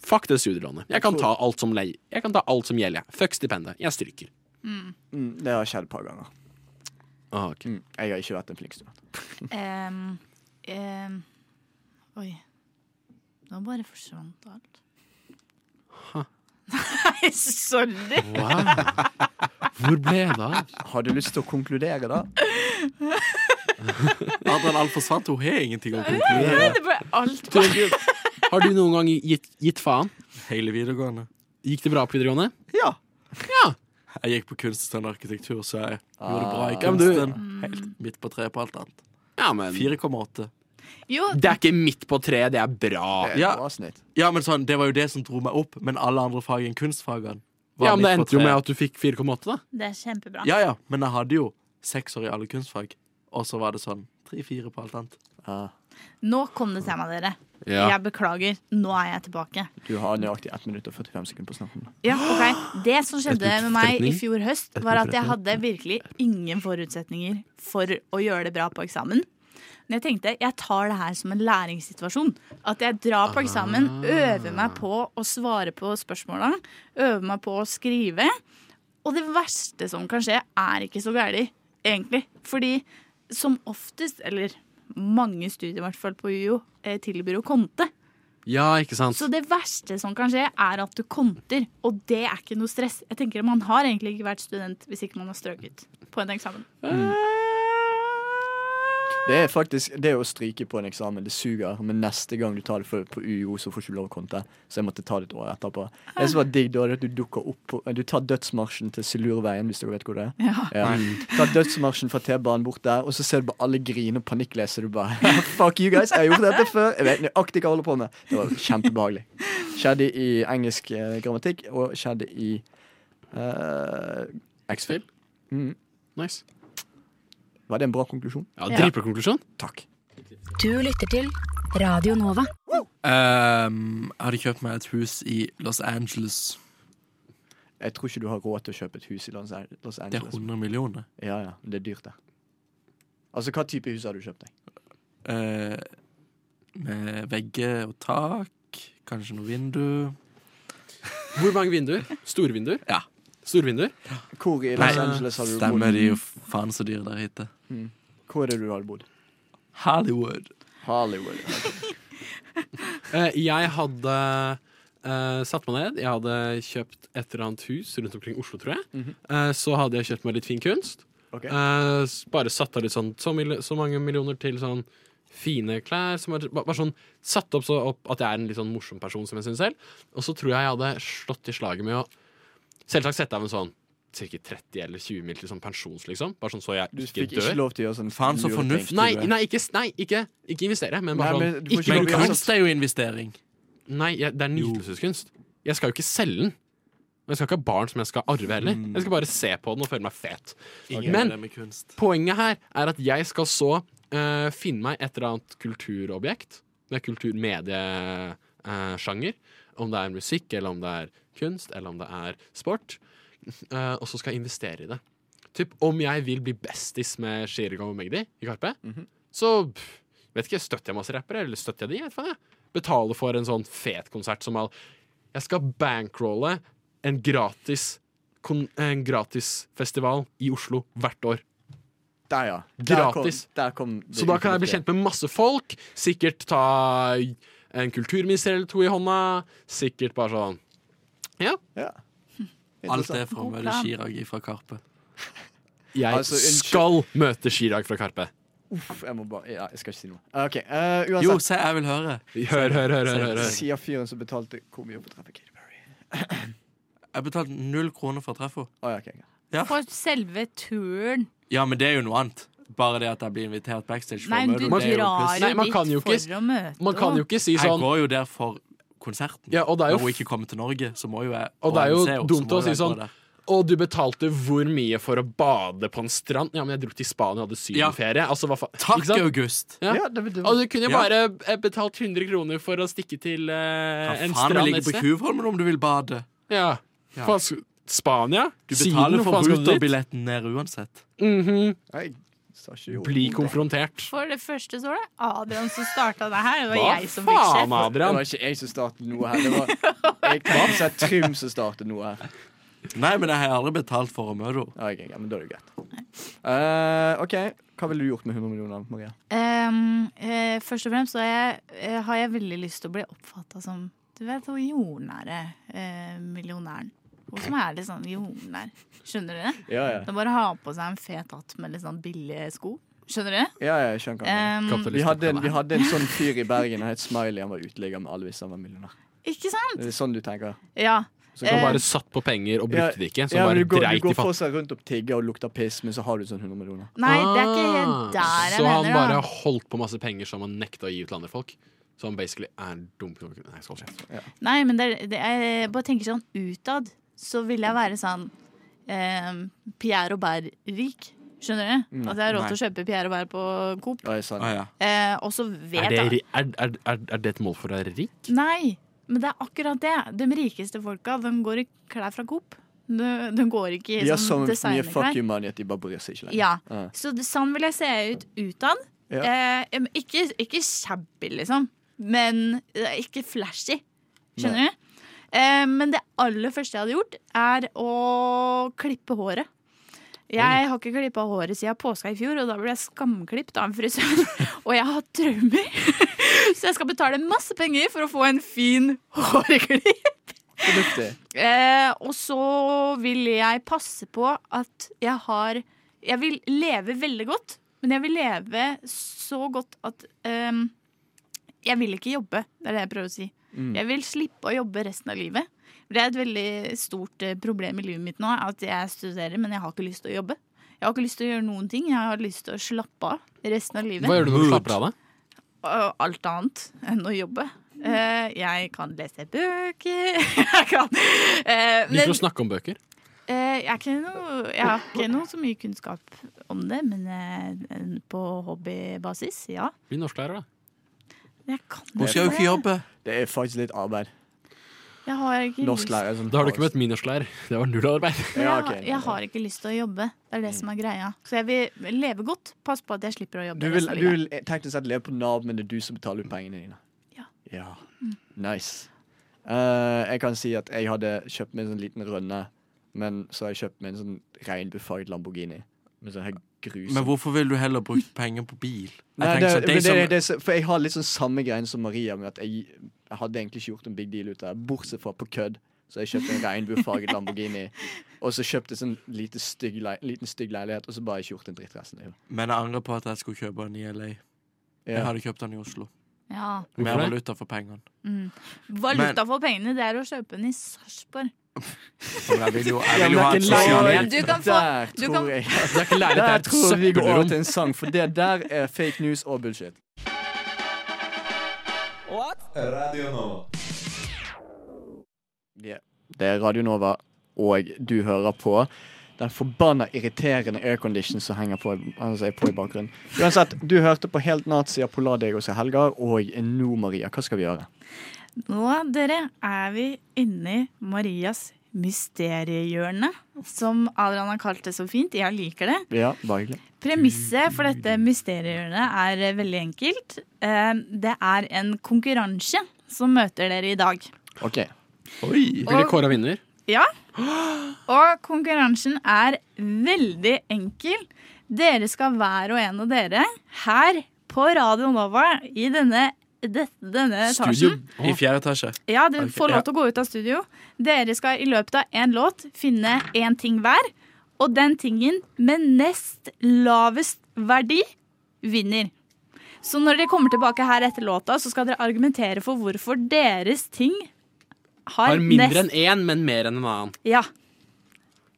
Fuck det studielånet. Jeg kan ta alt som lei. Jeg kan ta alt som gjelder. jeg. Fuck stipendet. Jeg stryker.
Mm, det har skjedd et par ganger.
Ah, ok.
Mm, jeg har ikke vært en flink student.
Ehm, ehm, oi. Nå bare forsvant alt. Nei, sorry!
Wow. Hvor ble det av?
Har du lyst til å konkludere, da?
Adrian alt forsvant. Hun har ingenting å konkludere.
Det ble alt
Tror du- Har du noen gang gitt, gitt faen?
Hele videregående.
Gikk det bra på videregående?
Ja.
Ja.
Jeg gikk på kunststund og arkitektur, så jeg gjorde det bra i
Ja, men du-
kunsten. Helt midt på treet på alt annet.
Ja,
Mm.
men
4,8.
Jo,
Det er ikke midt på treet, det er bra.
Ja.
Bra snitt.
Ja, men sånn, Det var jo det som dro meg opp, men alle andre fag enn kunstfagene var
Ja, men Det
midt på
endte jo med
treet.
at du fikk 4,8, da.
det er kjempebra.
Ja, ja, men jeg hadde jo seks år i alle kunstfag, og så var det sånn tre-fire på alt annet.
Ah,
Nå kom det seg med dere. Jeg beklager. Nå er jeg tilbake.
du har nøyaktig 1 minutt og 45 sekunder på å snakke om det.
Ja, ok. Det som skjedde
Et nytt
med meg i
trekning.
fjor høst, var at jeg hadde virkelig ingen forutsetninger for å gjøre det bra på eksamen. Men jeg tenkte jeg tar det her som en læringssituasjon. At jeg drar på eksamen, øver meg på å svare på spørsmåla, øver meg på å skrive. Og det verste som kan skje, er ikke så gærent, egentlig. Fordi som oftest, eller mange studier i hvert fall på UiO, eh, tilbyr jo konte.
Ja, ikke sant?
Så det verste som kan skje, er at du konter, og det er ikke noe stress. Jeg tenker Man har egentlig ikke vært student hvis ikke man har strøket på en eksamen.
Det er faktisk, det å stryke på en eksamen, det suger, men neste gang du tar det for, på UiO, så får du ikke lov å konte. Så jeg måtte ta det et år etterpå. Det som var digg da, det er at du dukker opp på Du tar dødsmarsjen til Silurveien, hvis dere vet hvor det er.
Ja.
Ja. Ta dødsmarsjen fra T-banen bort der, og så ser du bare alle grine og panikkleser. Du bare Fuck you guys, jeg har gjort dette før. Jeg vet nøyaktig hva jeg holder på med. Det var kjempebehagelig. Skjedde i engelsk eh, grammatikk, og skjedde i eh, X-Fil. Mm.
Nice.
Var det en bra konklusjon?
Ja, Dritbra konklusjon.
Takk.
Du lytter til Radio Nova.
Ehm, jeg hadde kjøpt meg et hus i Los Angeles.
Jeg tror ikke du har råd til å kjøpe et hus i Los An- Los
Det er
Angeles.
100 millioner.
Ja, ja, men det er dyrt, det. Altså, hva type hus har du kjøpt deg?
Eh, med vegger og tak, kanskje noe vindu.
Hvor mange vinduer? Store vinduer?
Ja.
Store vinduer?
Hvor i Los Angeles har du
Stemmer,
bodd?
de er jo faen så dyre der ute.
Mm. Hvor er det du har bodd?
Hollywood.
Hollywood. ok.
Eh, jeg hadde eh, satt meg ned. Jeg hadde kjøpt et eller annet hus rundt omkring Oslo, tror jeg.
Mhm.
Eh, så hadde jeg kjøpt meg litt fin kunst.
Ok.
Eh, s- bare satt av litt sånn så, mil så mange millioner til sånn fine klær. Som er, ba- bare sånn satt opp så opp at jeg er en litt sånn morsom person, som jeg syns selv. Og så tror jeg jeg hadde slått i slaget med å selvsagt sette av en sånn Cirka 30 eller 20 mil til sånn pensjons, liksom. Bare sånn så jeg
Du
ikke
fikk
dør.
ikke lov til å gjøre sånn
Faen, så
lure ting.
fornuftig.
Nei,
du er.
nei, ikke, nei ikke, ikke investere, men
Nei,
bare
men
sånn
du får ikke lov
Men
til å gjøre
kunst er jo investering.
Nei, jeg, det er nytelseskunst. Jeg skal jo ikke selge den. Og jeg skal ikke ha barn som jeg skal arve heller. Jeg skal bare se på den og føle meg fet.
Ingen
Men-
av det med kunst.
Poenget her er at jeg skal så eh, finne meg et eller annet kulturobjekt. Det er kulturmediesjanger. om det er musikk, eller om det er kunst, eller om det er sport. Eh, og så skal jeg investere i det. Typ, om jeg vil bli bestis med Shirigo og Magdi i Karpe, så pff, vet ikke, støtter jeg masse rappere, eller støtter jeg de? Vet faen jeg. Betaler for en sånn fet konsert som all Jeg skal bankrolle en gratis, kon, en gratis festival i Oslo hvert år.
Der, ja.
Gratis.
Der kom, der kom det
Så da kan jeg bli
ufornuftige.
kjent med masse folk. Sikkert ta en kulturminister eller to i hånda. Sikkert bare sånn Ja.
Ja.
Alt det
Interessant.
for å
God
møte
plan.
Chirag fra Karpe.
Jeg
Altså, unnskyld.
skal møte Chirag fra Karpe.
Uff, jeg må bare Ja, jeg skal ikke si noe. OK. eh, uansett.
Jo, se, jeg vil høre.
Hør, hør, hør. hør, hør, hør.
Sier fyren som betalte hvor mye for å treffe Katy Perry.
Jeg betalte null kroner for å treffe henne.
Å, ja, ok, ja.
For selve turen.
Ja, men det er jo noe annet. Bare det at jeg blir invitert backstage. For
Nei,
å
men
møte henne,
du drar
det er jo
jo
pluss.
dit
Nei, man kan jo ikke-
for å møte
Man kan jo ikke si
Jeg
sånn
går jo der for konserten.
Ja, og det er
Når
jo
hun ikke kommer til Norge, så må jo jeg
Og det er jo
jeg ser henne, så
dumt
må
å si
jeg gå
sånn,
der.
Og du betalte hvor mye for å bade på en strand? Ja, men jeg dro til Spania og hadde sydenferie. Altså, hva faen? Ikke
Takk,
sant?
August!
Ja.
Ja, det, det,
Og du kunne jo
Ja.
bare eh, betalt 100 kroner for å stikke til eh,
Hva
en
faen, jeg
strand et
ligger på
sted.
Tjuvholmen om du vil bade.
Ja. Faen, sk- Spania?
Du
Syden,
betaler
hvor
for
faen skal du dit?
ruterbilletten ned uansett.
Mhm.
jeg sa ikke jo.
Bli konfrontert.
For det første så var det Adrian som starta det her. Det var
Hva
jeg som fikk
faen,
sjef.
Det
Adrian?
var ikke jeg som startet noe her. Det var jeg kan ikke si at Trym som startet noe her.
Nei, men jeg har aldri betalt for å møte henne.
Ja, ok, ja, men da er det jo greit. Eh, OK, hva ville du gjort med 100 millioner, Maria?
Ehm, eh, først og fremst så er jeg, eh, har jeg veldig lyst til å bli oppfatta som Du vet hun jordnære eh, millionæren. Hun som er litt sånn jordnær. Skjønner dere?
Ja, ja.
Det er bare å ha på seg en fet hatt med litt sånn billige sko. Skjønner dere?
ja, ja jeg skjønner hva du mener.
Ehm,
Kapitalist.
vi hadde, en, vi hadde en sånn fyr i Bergen, han het Smiley. Han var uteligger med alle hvis han var millionær.
ikke sant?
Det er sånn du tenker?
Ja.
Så
Som
kan
Eh,
bare satt på penger og brukte det ikke. Som
ja,
bare
men du går,
dreit
du går
i fattige.
fortsatt rundt og tigger og lukter piss, men så har du sånn 100 millioner.
Nei, det er ikke helt der
Ah,
jeg
Så han
mener
bare
da.
holdt på masse penger som han nekta å gi ut til andre folk. Så han basically er en dum knok- Nei, jeg skal holde kjeft.
Nei, men det, er- det, er- jeg bare tenker sånn utad, så vil jeg være sånn ehm, Pierre Robert-rik. Skjønner du? At jeg har råd til å kjøpe Pierre Robert på Coop.
Ja, det er sant.
Ah, ja.
Eh, og så vet
Er det,
jeg
ri- er, er, er, er det et mål for å være rik?
Nei, men det er akkurat det. De rikeste folka, de går i klær fra Coop. De, de går ikke i
De har så
sånn
mye fuck
designerklær.
you money at de bare bryr seg ikke lenger.
Ja.
Ja.
Så det, sånn vil jeg se ut utad.
Ja.
Eh, men ikke, ikke shabby, liksom. Men eh, ikke flashy. Skjønner du? Eh, men det aller første jeg hadde gjort, er å klippe håret. Jeg har ikke klippa håret siden påska i fjor, og da ble jeg skamklipt av en frisør. og jeg har traumer, så jeg skal betale masse penger for å få en fin hårklipp.
Fornuftig.
Eh, og så vil jeg passe på at jeg har Jeg vil leve veldig godt, men jeg vil leve så godt at ehm, Jeg vil ikke jobbe, det er det jeg prøver å si.
Mm.
Jeg vil slippe å jobbe resten av livet. Det er et veldig stort eh, problem i livet mitt nå, at jeg studerer, men jeg har ikke lyst til å jobbe. Jeg har ikke lyst til å gjøre noen ting. Jeg har lyst til å slappe av resten av livet.
Hva gjør du når du slapper av deg?
Og alt annet enn å jobbe. Eh, jeg kan lese bøker Jeg kan eh,
Liker du å snakke om bøker?
Eh, jeg, er ikke noe, jeg har ikke noe så mye kunnskap om det, men eh, på hobbybasis, ja.
Bli norsklærer, da.
Jeg kan
Hun skal jo ikke jobbe.
Det er faktisk litt arbeid.
Jeg har ikke
Norsklærer som
Da har du ikke møtt min norsklærer. Det var null arbeid.
lyst, jeg,
Ja,
har,
ok.
jeg har ikke lyst til å jobbe. Det er det som er greia. Så jeg vil leve godt. Pass på at jeg slipper å jobbe.
Du vil,
resten av
du
livet.
vil eh, teknisk sett leve på Nav, men det er du som betaler ut pengene dine.
Ja. Mm.
Nice. Eh, jeg kan si at jeg hadde kjøpt meg en sånn liten rønne Men så har jeg kjøpt meg en sånn regnbuefarget Lamborghini. Med sånn her grus
Men hvorfor ville du heller brukt penger på bil? Jeg
Nei, det,
tenker sånn, de
men det,
som-
det, er så- for jeg har litt sånn samme greien som Maria, med at jeg, jeg hadde egentlig ikke gjort en big deal ut av det, bortsett fra på kødd. Så jeg kjøpte en regnbuefarget Lamborghini, og så kjøpte jeg sånn lite stygg, lei- liten stygg leilighet, og så bare ikke gjort en dritt resten av livet.
Men jeg angrer på at jeg skulle kjøpe den i LA.
Ja.
Jeg hadde kjøpt den i Oslo.
Ja.
Mer
Hvorfor det?
valuta for pengene.
Mm. Valuta for pengene, det er å kjøpe den i Sarpsborg.
Men jeg vil jo, jeg
Ja,
vil jo
men
ha et
det er ikke
sosialt
leilighet.
Du kan få-
Der
du
tror
kan-
jeg
Altså,
Det er ikke leilighet, det er
Der
et
tror jeg vi går over
søppelrom.
til en sang, for det der er fake news og bullshit.
Radio Nova.
Yeah. Det er Radio Nova, og du hører på den forbanna irriterende aircondition som henger på, altså er på i bakgrunnen. Uansett, du hørte på Helt Nazi av Polardegos og Helgar, og nå, Maria, hva skal vi gjøre?
Nå, dere, er vi inni Marias mysteriehjørne, som Adrian har kalt det så fint. Jeg liker det.
Ja, bare hyggelig.
Premisset for dette mysteriehjørnet er eh, veldig enkelt. Eh, Det er en konkurranse som møter dere i dag.
OK.
Oi. Blir det
Og-
kåra vinner?
Ja. Og konkurransen er veldig enkel. Dere skal hver og en av dere her på Radio Nova i denne, det, denne etasjen
I fjerde etasje.
ja, du
Ok,
får lov til å gå ut av studio. Dere skal i løpet av én låt finne én ting hver. Og den tingen med nest lavest verdi vinner. Så når dere kommer tilbake her etter låta, så skal dere argumentere for hvorfor deres ting har,
Har mindre enn
nest
én, men mer enn en annen.
Ja.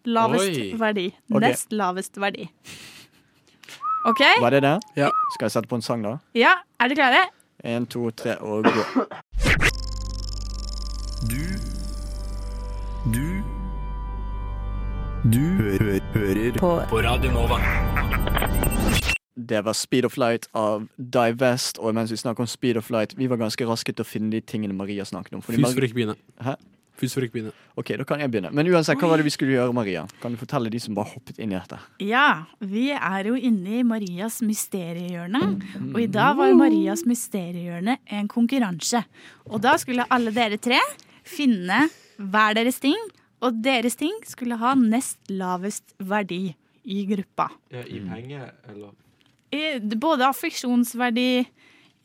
Lavest
Oi.
verdi.
Ok.
Nest lavest verdi. OK?
Var det det? Ja. Skal jeg sette på en sang, da?
Ja, er dere klare?
Én, to, tre og gå.
Du Du Du hø hø hører på. Radio Nova.
Det var Speed of Light av Divest, og mens vi snakker om Speed of Light, vi var ganske raske til å finne de tingene Maria snakket om. fordi
Fys
Maria-
får ikke begynne.
Hæ?
Fys får ikke begynne.
OK, da kan jeg begynne. Men uansett, hva var det vi skulle gjøre, Maria? Kan du fortelle de som bare hoppet inn i dette?
Ja, vi er jo inne i Marias mysteriehjørne. Og i dag var Marias mysteriehjørne en konkurranse. Og da skulle alle dere tre finne hver deres ting, og deres ting skulle ha nest lavest verdi i gruppa.
I penger, eller?
I, både affeksjonsverdi,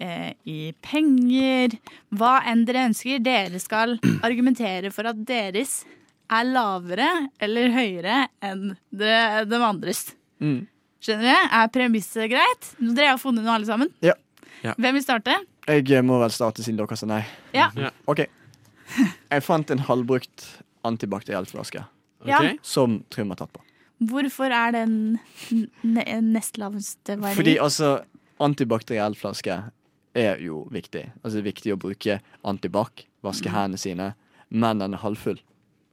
eh, i penger, hva enn dere ønsker. Dere skal argumentere for at deres er lavere eller høyere enn det, de andres. Skjønner du? Er premisset greit? Dere har funnet noe, alle sammen?
Ja.
Ja.
Hvem vil starte?
Jeg eh, må vel starte siden dere sa nei.
Ja.
OK. Jeg fant en halvbrukt antibakteriell flaske
Ja. Ok.
som Trym har tatt på.
Hvorfor er den n- n- nest laveste verdi?
Fordi altså, antibakteriell flaske er jo viktig. Altså, det er viktig å bruke antibac, vaske hendene sine, men den er halvfull.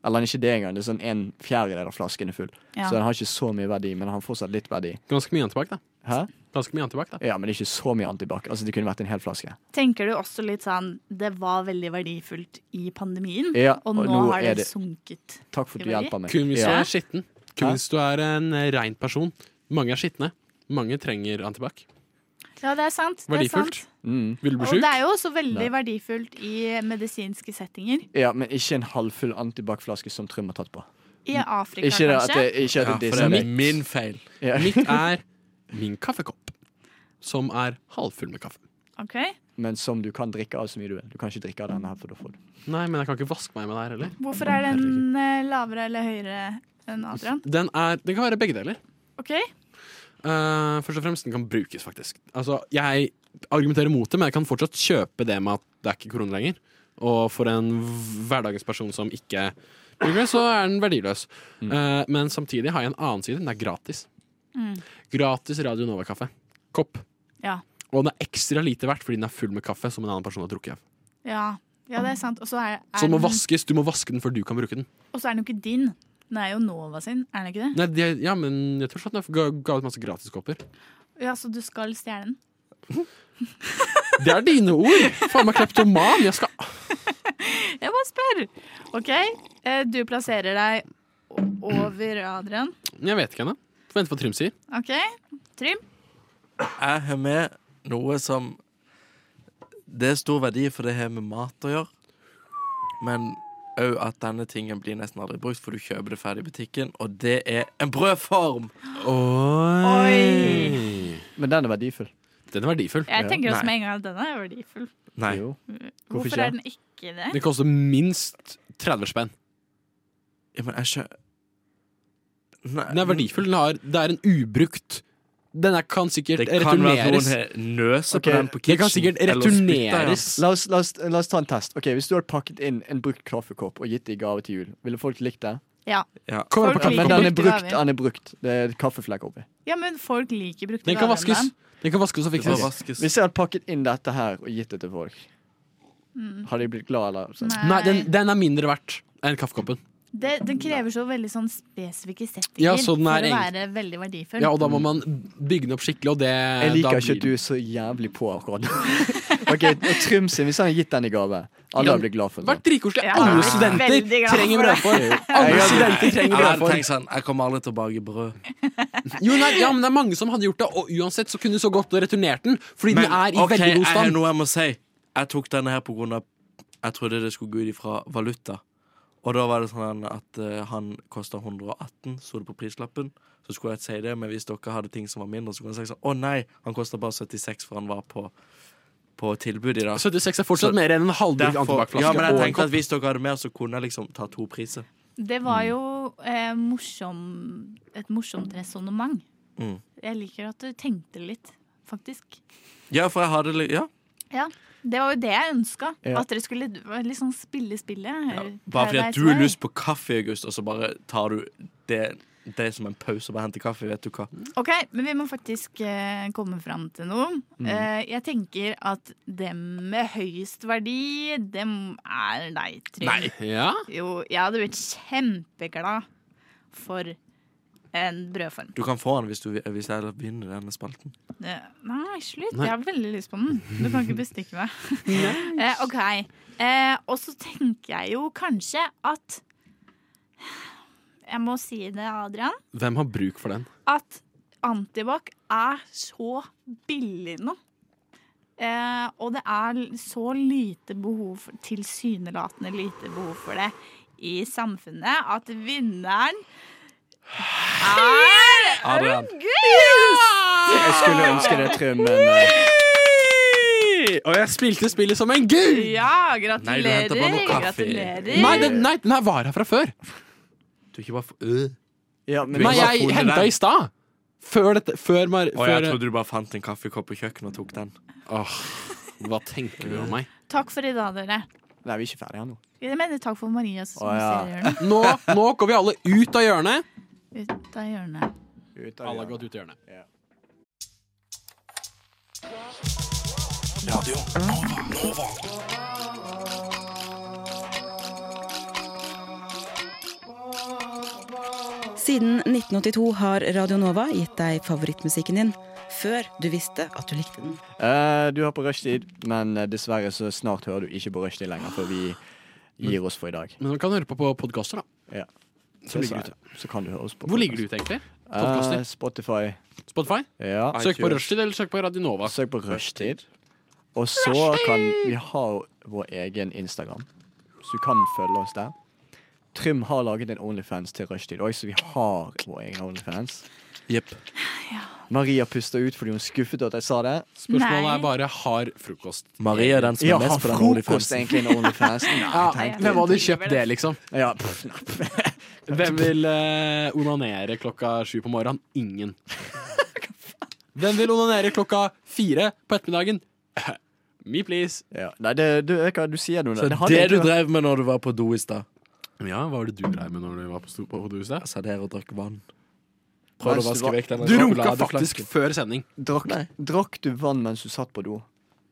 Eller den er ikke det engang. Det er sånn en fjerdedel av flasken er full.
Ja.
Så den har ikke så mye verdi, men den har fortsatt litt verdi.
Ganske mye antibac, da.
Hæ?
Ganske mye antibac, da.
Ja, men det er ikke så mye antibac. Altså, det kunne vært en hel flaske.
Tenker du også litt sånn Det var veldig verdifullt i pandemien,
Ja,
og nå, har det, sunket.
Takk for at
i
du
verdi.
hjelper meg.
Kun hvis du
Ja.
er skitten. Kun hvis du er en eh, rein person. Mange er skitne. Mange trenger antibac.
Ja, det er sant. Det er sant.
Verdifullt. Vil du bli
Og
sjuk?
det er jo også veldig
Nei.
verdifullt i medisinske settinger.
Ja, men ikke en halvfull antibac-flaske som Trym har tatt på.
I
Mm.
Afrika,
Ikke det at
kanskje.
det- ikke at det sånn
Ja,
disser
for det er
deg.
min feil.
Ja.
Mitt er min kaffekopp, som er halvfull med kaffe.
Ok.
Men som du kan drikke av så mye du vil. Du kan ikke drikke av denne her, for da får du
Nei, men jeg kan ikke vaske meg med det her heller.
Hvorfor er den eh, lavere eller høyere enn Adrian?
Den, er, den kan være begge deler.
Ok.
Eh, først og fremst, den kan brukes, faktisk. Altså, jeg argumenterer mot det, men jeg kan fortsatt kjøpe det med at det er ikke korona lenger. Og for en v- hverdagens person som ikke bruker det, så er den verdiløs. Eh, men samtidig har jeg en annen side. Den er gratis.
Mm.
Gratis Radio Nova-kaffe. Kopp.
Ja.
Og den er ekstra lite verdt fordi den er full med kaffe som en annen person har drukket av.
ja. Ja, det er sant. Og så er, er
Så den må
den-
vaskes. Du må vaske den før du kan bruke den.
Og så er den jo ikke din. Den er jo Nova sin, er den ikke det?
Nei, det, ja, men jeg tror sånn at den ga, ga ut masse gratiskopper.
Ja, Så du skal stjele den?
Det er dine ord! Faen meg kleptoman! Jeg skal
Jeg bare spør! OK, eh, du plasserer deg o- over Adrian.
Jeg vet ikke ennå. Får Vente på hva Trym sier.
OK, Trym?
Jeg har med noe som Det er stor verdi, for det har med mat å gjøre. Men òg at denne tingen blir nesten aldri brukt, for du kjøper det ferdig i butikken, og det er en brødform!
Oi. Men den er verdifull.
Den er verdifull.
Jeg tenker også med en gang at den er verdifull.
Nei.
Hvorfor,
ikke?
er den ikke det?
Det koster minst 30 spenn.
Ja, men jeg skjønner
Den er verdifull. Den har, det er en ubrukt Den er, kan sikkert
Det kan være at
returneres.
noen he- nøser på
Ok,
den på
det kan
kitchen,
sikkert
eller
returneres.
La oss, la, oss, la oss ta en test. Ok, Hvis du hadde pakket inn en brukt kaffekopp og gitt det i gave til jul, ville folk likt det?
Ja.
Ja.
Kommer an på Folk kaffekoppen.
Men den er brukt.
liker det, da, vi.
Den er brukt. Det er kaffeflekk oppi.
Ja, men folk liker brukte
Den kan
varer,
vaskes.
men-
Den kan vaskes og fikses.
Ok, Hvis jeg hadde pakket inn dette her og gitt det til folk,
Mm.
hadde de blitt glad eller sånn?
Nei.
Nei, den, den er mindre verdt enn kaffekoppen.
Det, den krever så veldig sånn spesifikke settinger
Ja, så den er
for å
egentlig-
være veldig verdifull.
Ja, og da må man bygge den opp skikkelig, og det
Jeg liker
da
ikke at du
blir-
er så jævlig på akkurat nå. Ok, og Trym sin, hvis han hadde gitt den i gave, alle hadde blitt glad for den.
Vært dritkoselig.
Ja,
Alle
jeg er
studenter
veldig glad
trenger
for det.
brødform.
Jeg
Alle
hadde-
studenter trenger
Jeg hadde
brødform.
tenkt sånn, jeg kommer aldri til å bake brød.
Jo, nei, ja, men det er mange som hadde gjort det, og uansett så kunne du så godt returnert den, fordi den er i
ok,
veldig god
Jeg har
stand.
noe jeg må si. Jeg tok denne her på grunn av Jeg trodde det skulle gå ut ifra valuta. Og da var det sånn at eh, han kosta 118, sto det på prislappen. Så skulle jeg si det, men hvis dere hadde ting som var mindre, så kunne jeg si sånn Å nei, han kosta bare 76, for han var på på tilbud i dag.
76 er fortsatt mer enn en halvbrukt
Derfor-
antibac-flaske
Ja, men jeg
og en
tenkte
kopp.
at Hvis dere hadde mer, så kunne jeg liksom ta to priser.
Det var jo eh, morsom, et morsomt resonnement.
Mm.
Jeg liker at du tenkte litt, faktisk.
Ja, for jeg hadde li- Ja.
Ja, Det var jo det jeg ønska.
Ja.
At dere skulle liksom spille spillet. eh,
Bare fordi at
Paradise
du har
Way.
lyst på kaffe i august, og så bare tar du det, det som en pause og bare henter kaffe. Vet du hva?
Ok, men vi må faktisk eh, komme fram til noe.
Mm.
Eh, jeg tenker at dem med høyest verdi, dem er deg, Trym.
Nei. Ja?
Jo, jeg hadde blitt kjempeglad for en brødform.
Du kan få den hvis, du, hvis jeg vinner denne spalten.
Eh, Nei, slutt.
Nei.
Jeg har veldig lyst på den. Du kan ikke bestikke meg. Eh, ok. Eh, og så tenker jeg jo kanskje at Jeg må si det, Adrian.
Hvem har bruk for den?
at antibac er så billig nå. Eh, og det er l- så lite behov, for- tilsynelatende lite behov for det i samfunnet, at vinneren er
Adrian.
August!
Jeg skulle ønske det, Trym, men eh,
Og jeg spilte spillet som en gud!
Ja,
Nei, du
gratulerer.
hentet bare noe kaffe.
gratulerer.
Nei, den, nei, den her var her fra før.
Du er ikke bare for, øh.
ja, men,
Nei, jeg henta i stad. Før dette Før, Mar
Og jeg
før
trodde du bare fant en kaffekopp på kjøkkenet og tok den.
Åh, Hva tenker du om meg?
Takk for i dag, dere.
Nei, vi er ikke ferdige ennå.
Jeg mener takk for Maria som
Å, ja.
ser hjørnet.
Nå, nå går vi alle ut av hjørnet.
Ut av hjørnet.
Alle har gått ut av hjørnet.
Siden 1982 har Radio Nova gitt deg favorittmusikken din før du visste at du likte den.
Eh, du har på rushtid, men eh, dessverre så snart hører du ikke på rushtid lenger, for vi gir oss for i dag.
Men man kan høre på på podkaster, da.
Ja.
Som
Det
ligger
sa jeg. Så kan du høre oss på
Hvor ligger du
podcast.
ute, egentlig?
Eh,
Podkaster?
Spotify.
Spotify?
Ja.
Søk på Rushtid eller søk på Radionova.
Søk på rushtid. Og så kan vi ha vår egen Instagram, så du kan følge oss der. Trym har laget en Onlyfans til rushtid òg, så vi har vår egen Onlyfans.
Jepp.
Maria puster ut fordi hun er skuffet over at jeg sa det.
Spørsmålet
Nei.
er bare har frokost.
Maria er den som er
Ja,
mest
har
på den
frokost
Onlyfansen.
egentlig en Onlyfans? Nei,
Ja,
tenkte-
hvem hadde kjøpt det, liksom?
Ja, pff, nei, pff.
Hvem vil eh, onanere klokka sju på morgenen? Ingen. Hvem vil onanere klokka fire på ettermiddagen? Me, please.
Ja, nei, det, du, Eka, du sier noe. Det
Så det,
hadde
du
egentlig vært-
drev med når du var på do i stad?
Ja, hva var det du dreiv med når du var på, sto- på hodet i sted?
Jeg satt her og drakk vann.
Mens
Prøvde å
du var-
vaske vekk den
Du runka
sjokoladeflasken.
faktisk før sending.
Drakk, drakk du vann mens du satt på do?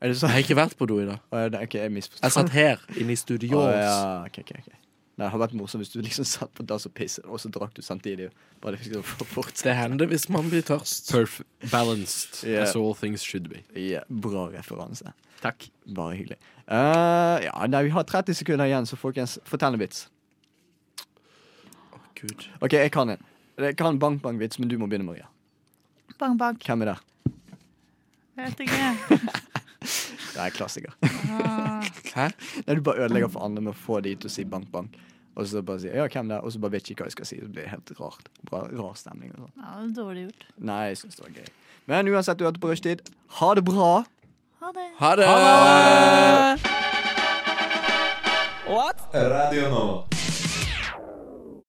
Er det
Jeg
sånn?
har ikke vært på do i dag.
Å, ja, nei, ok, jeg misforstod.
Jeg satt her, inne i studios.
Å, ja, ok, ok, ok. Nei, det hadde vært morsomt hvis du liksom satt på dass og pisset, og så drakk du samtidig. Bare liksom for fort.
Det hender hvis man blir tørst.
Perf balanced
Yeah.
as all things should be.
Ja, bra referanse.
Takk.
Bare hyggelig. Eh, ja, nei, vi har 30 sekunder igjen, så folkens, fortell en vits.
Gud.
OK, jeg kan en. Jeg kan bank-bank-vits, men du må begynne, Maria.
Bang, bang.
Hvem er det?
Jeg vet ikke.
Det er klassiker. Hæ? Nei, du bare ødelegger for andre med å få de til å si bank, bank. Og så bare si ja, hvem det er, og så bare vet ikke hva jeg skal si. Det blir helt rart. Bra, rar stemning. og sånn.
Ja, det er dårlig gjort.
Nei, jeg syns det var gøy. Men uansett, du hørte på rushtid. Ha det bra.
Ha det.
Ha det!
What? Radio Nova.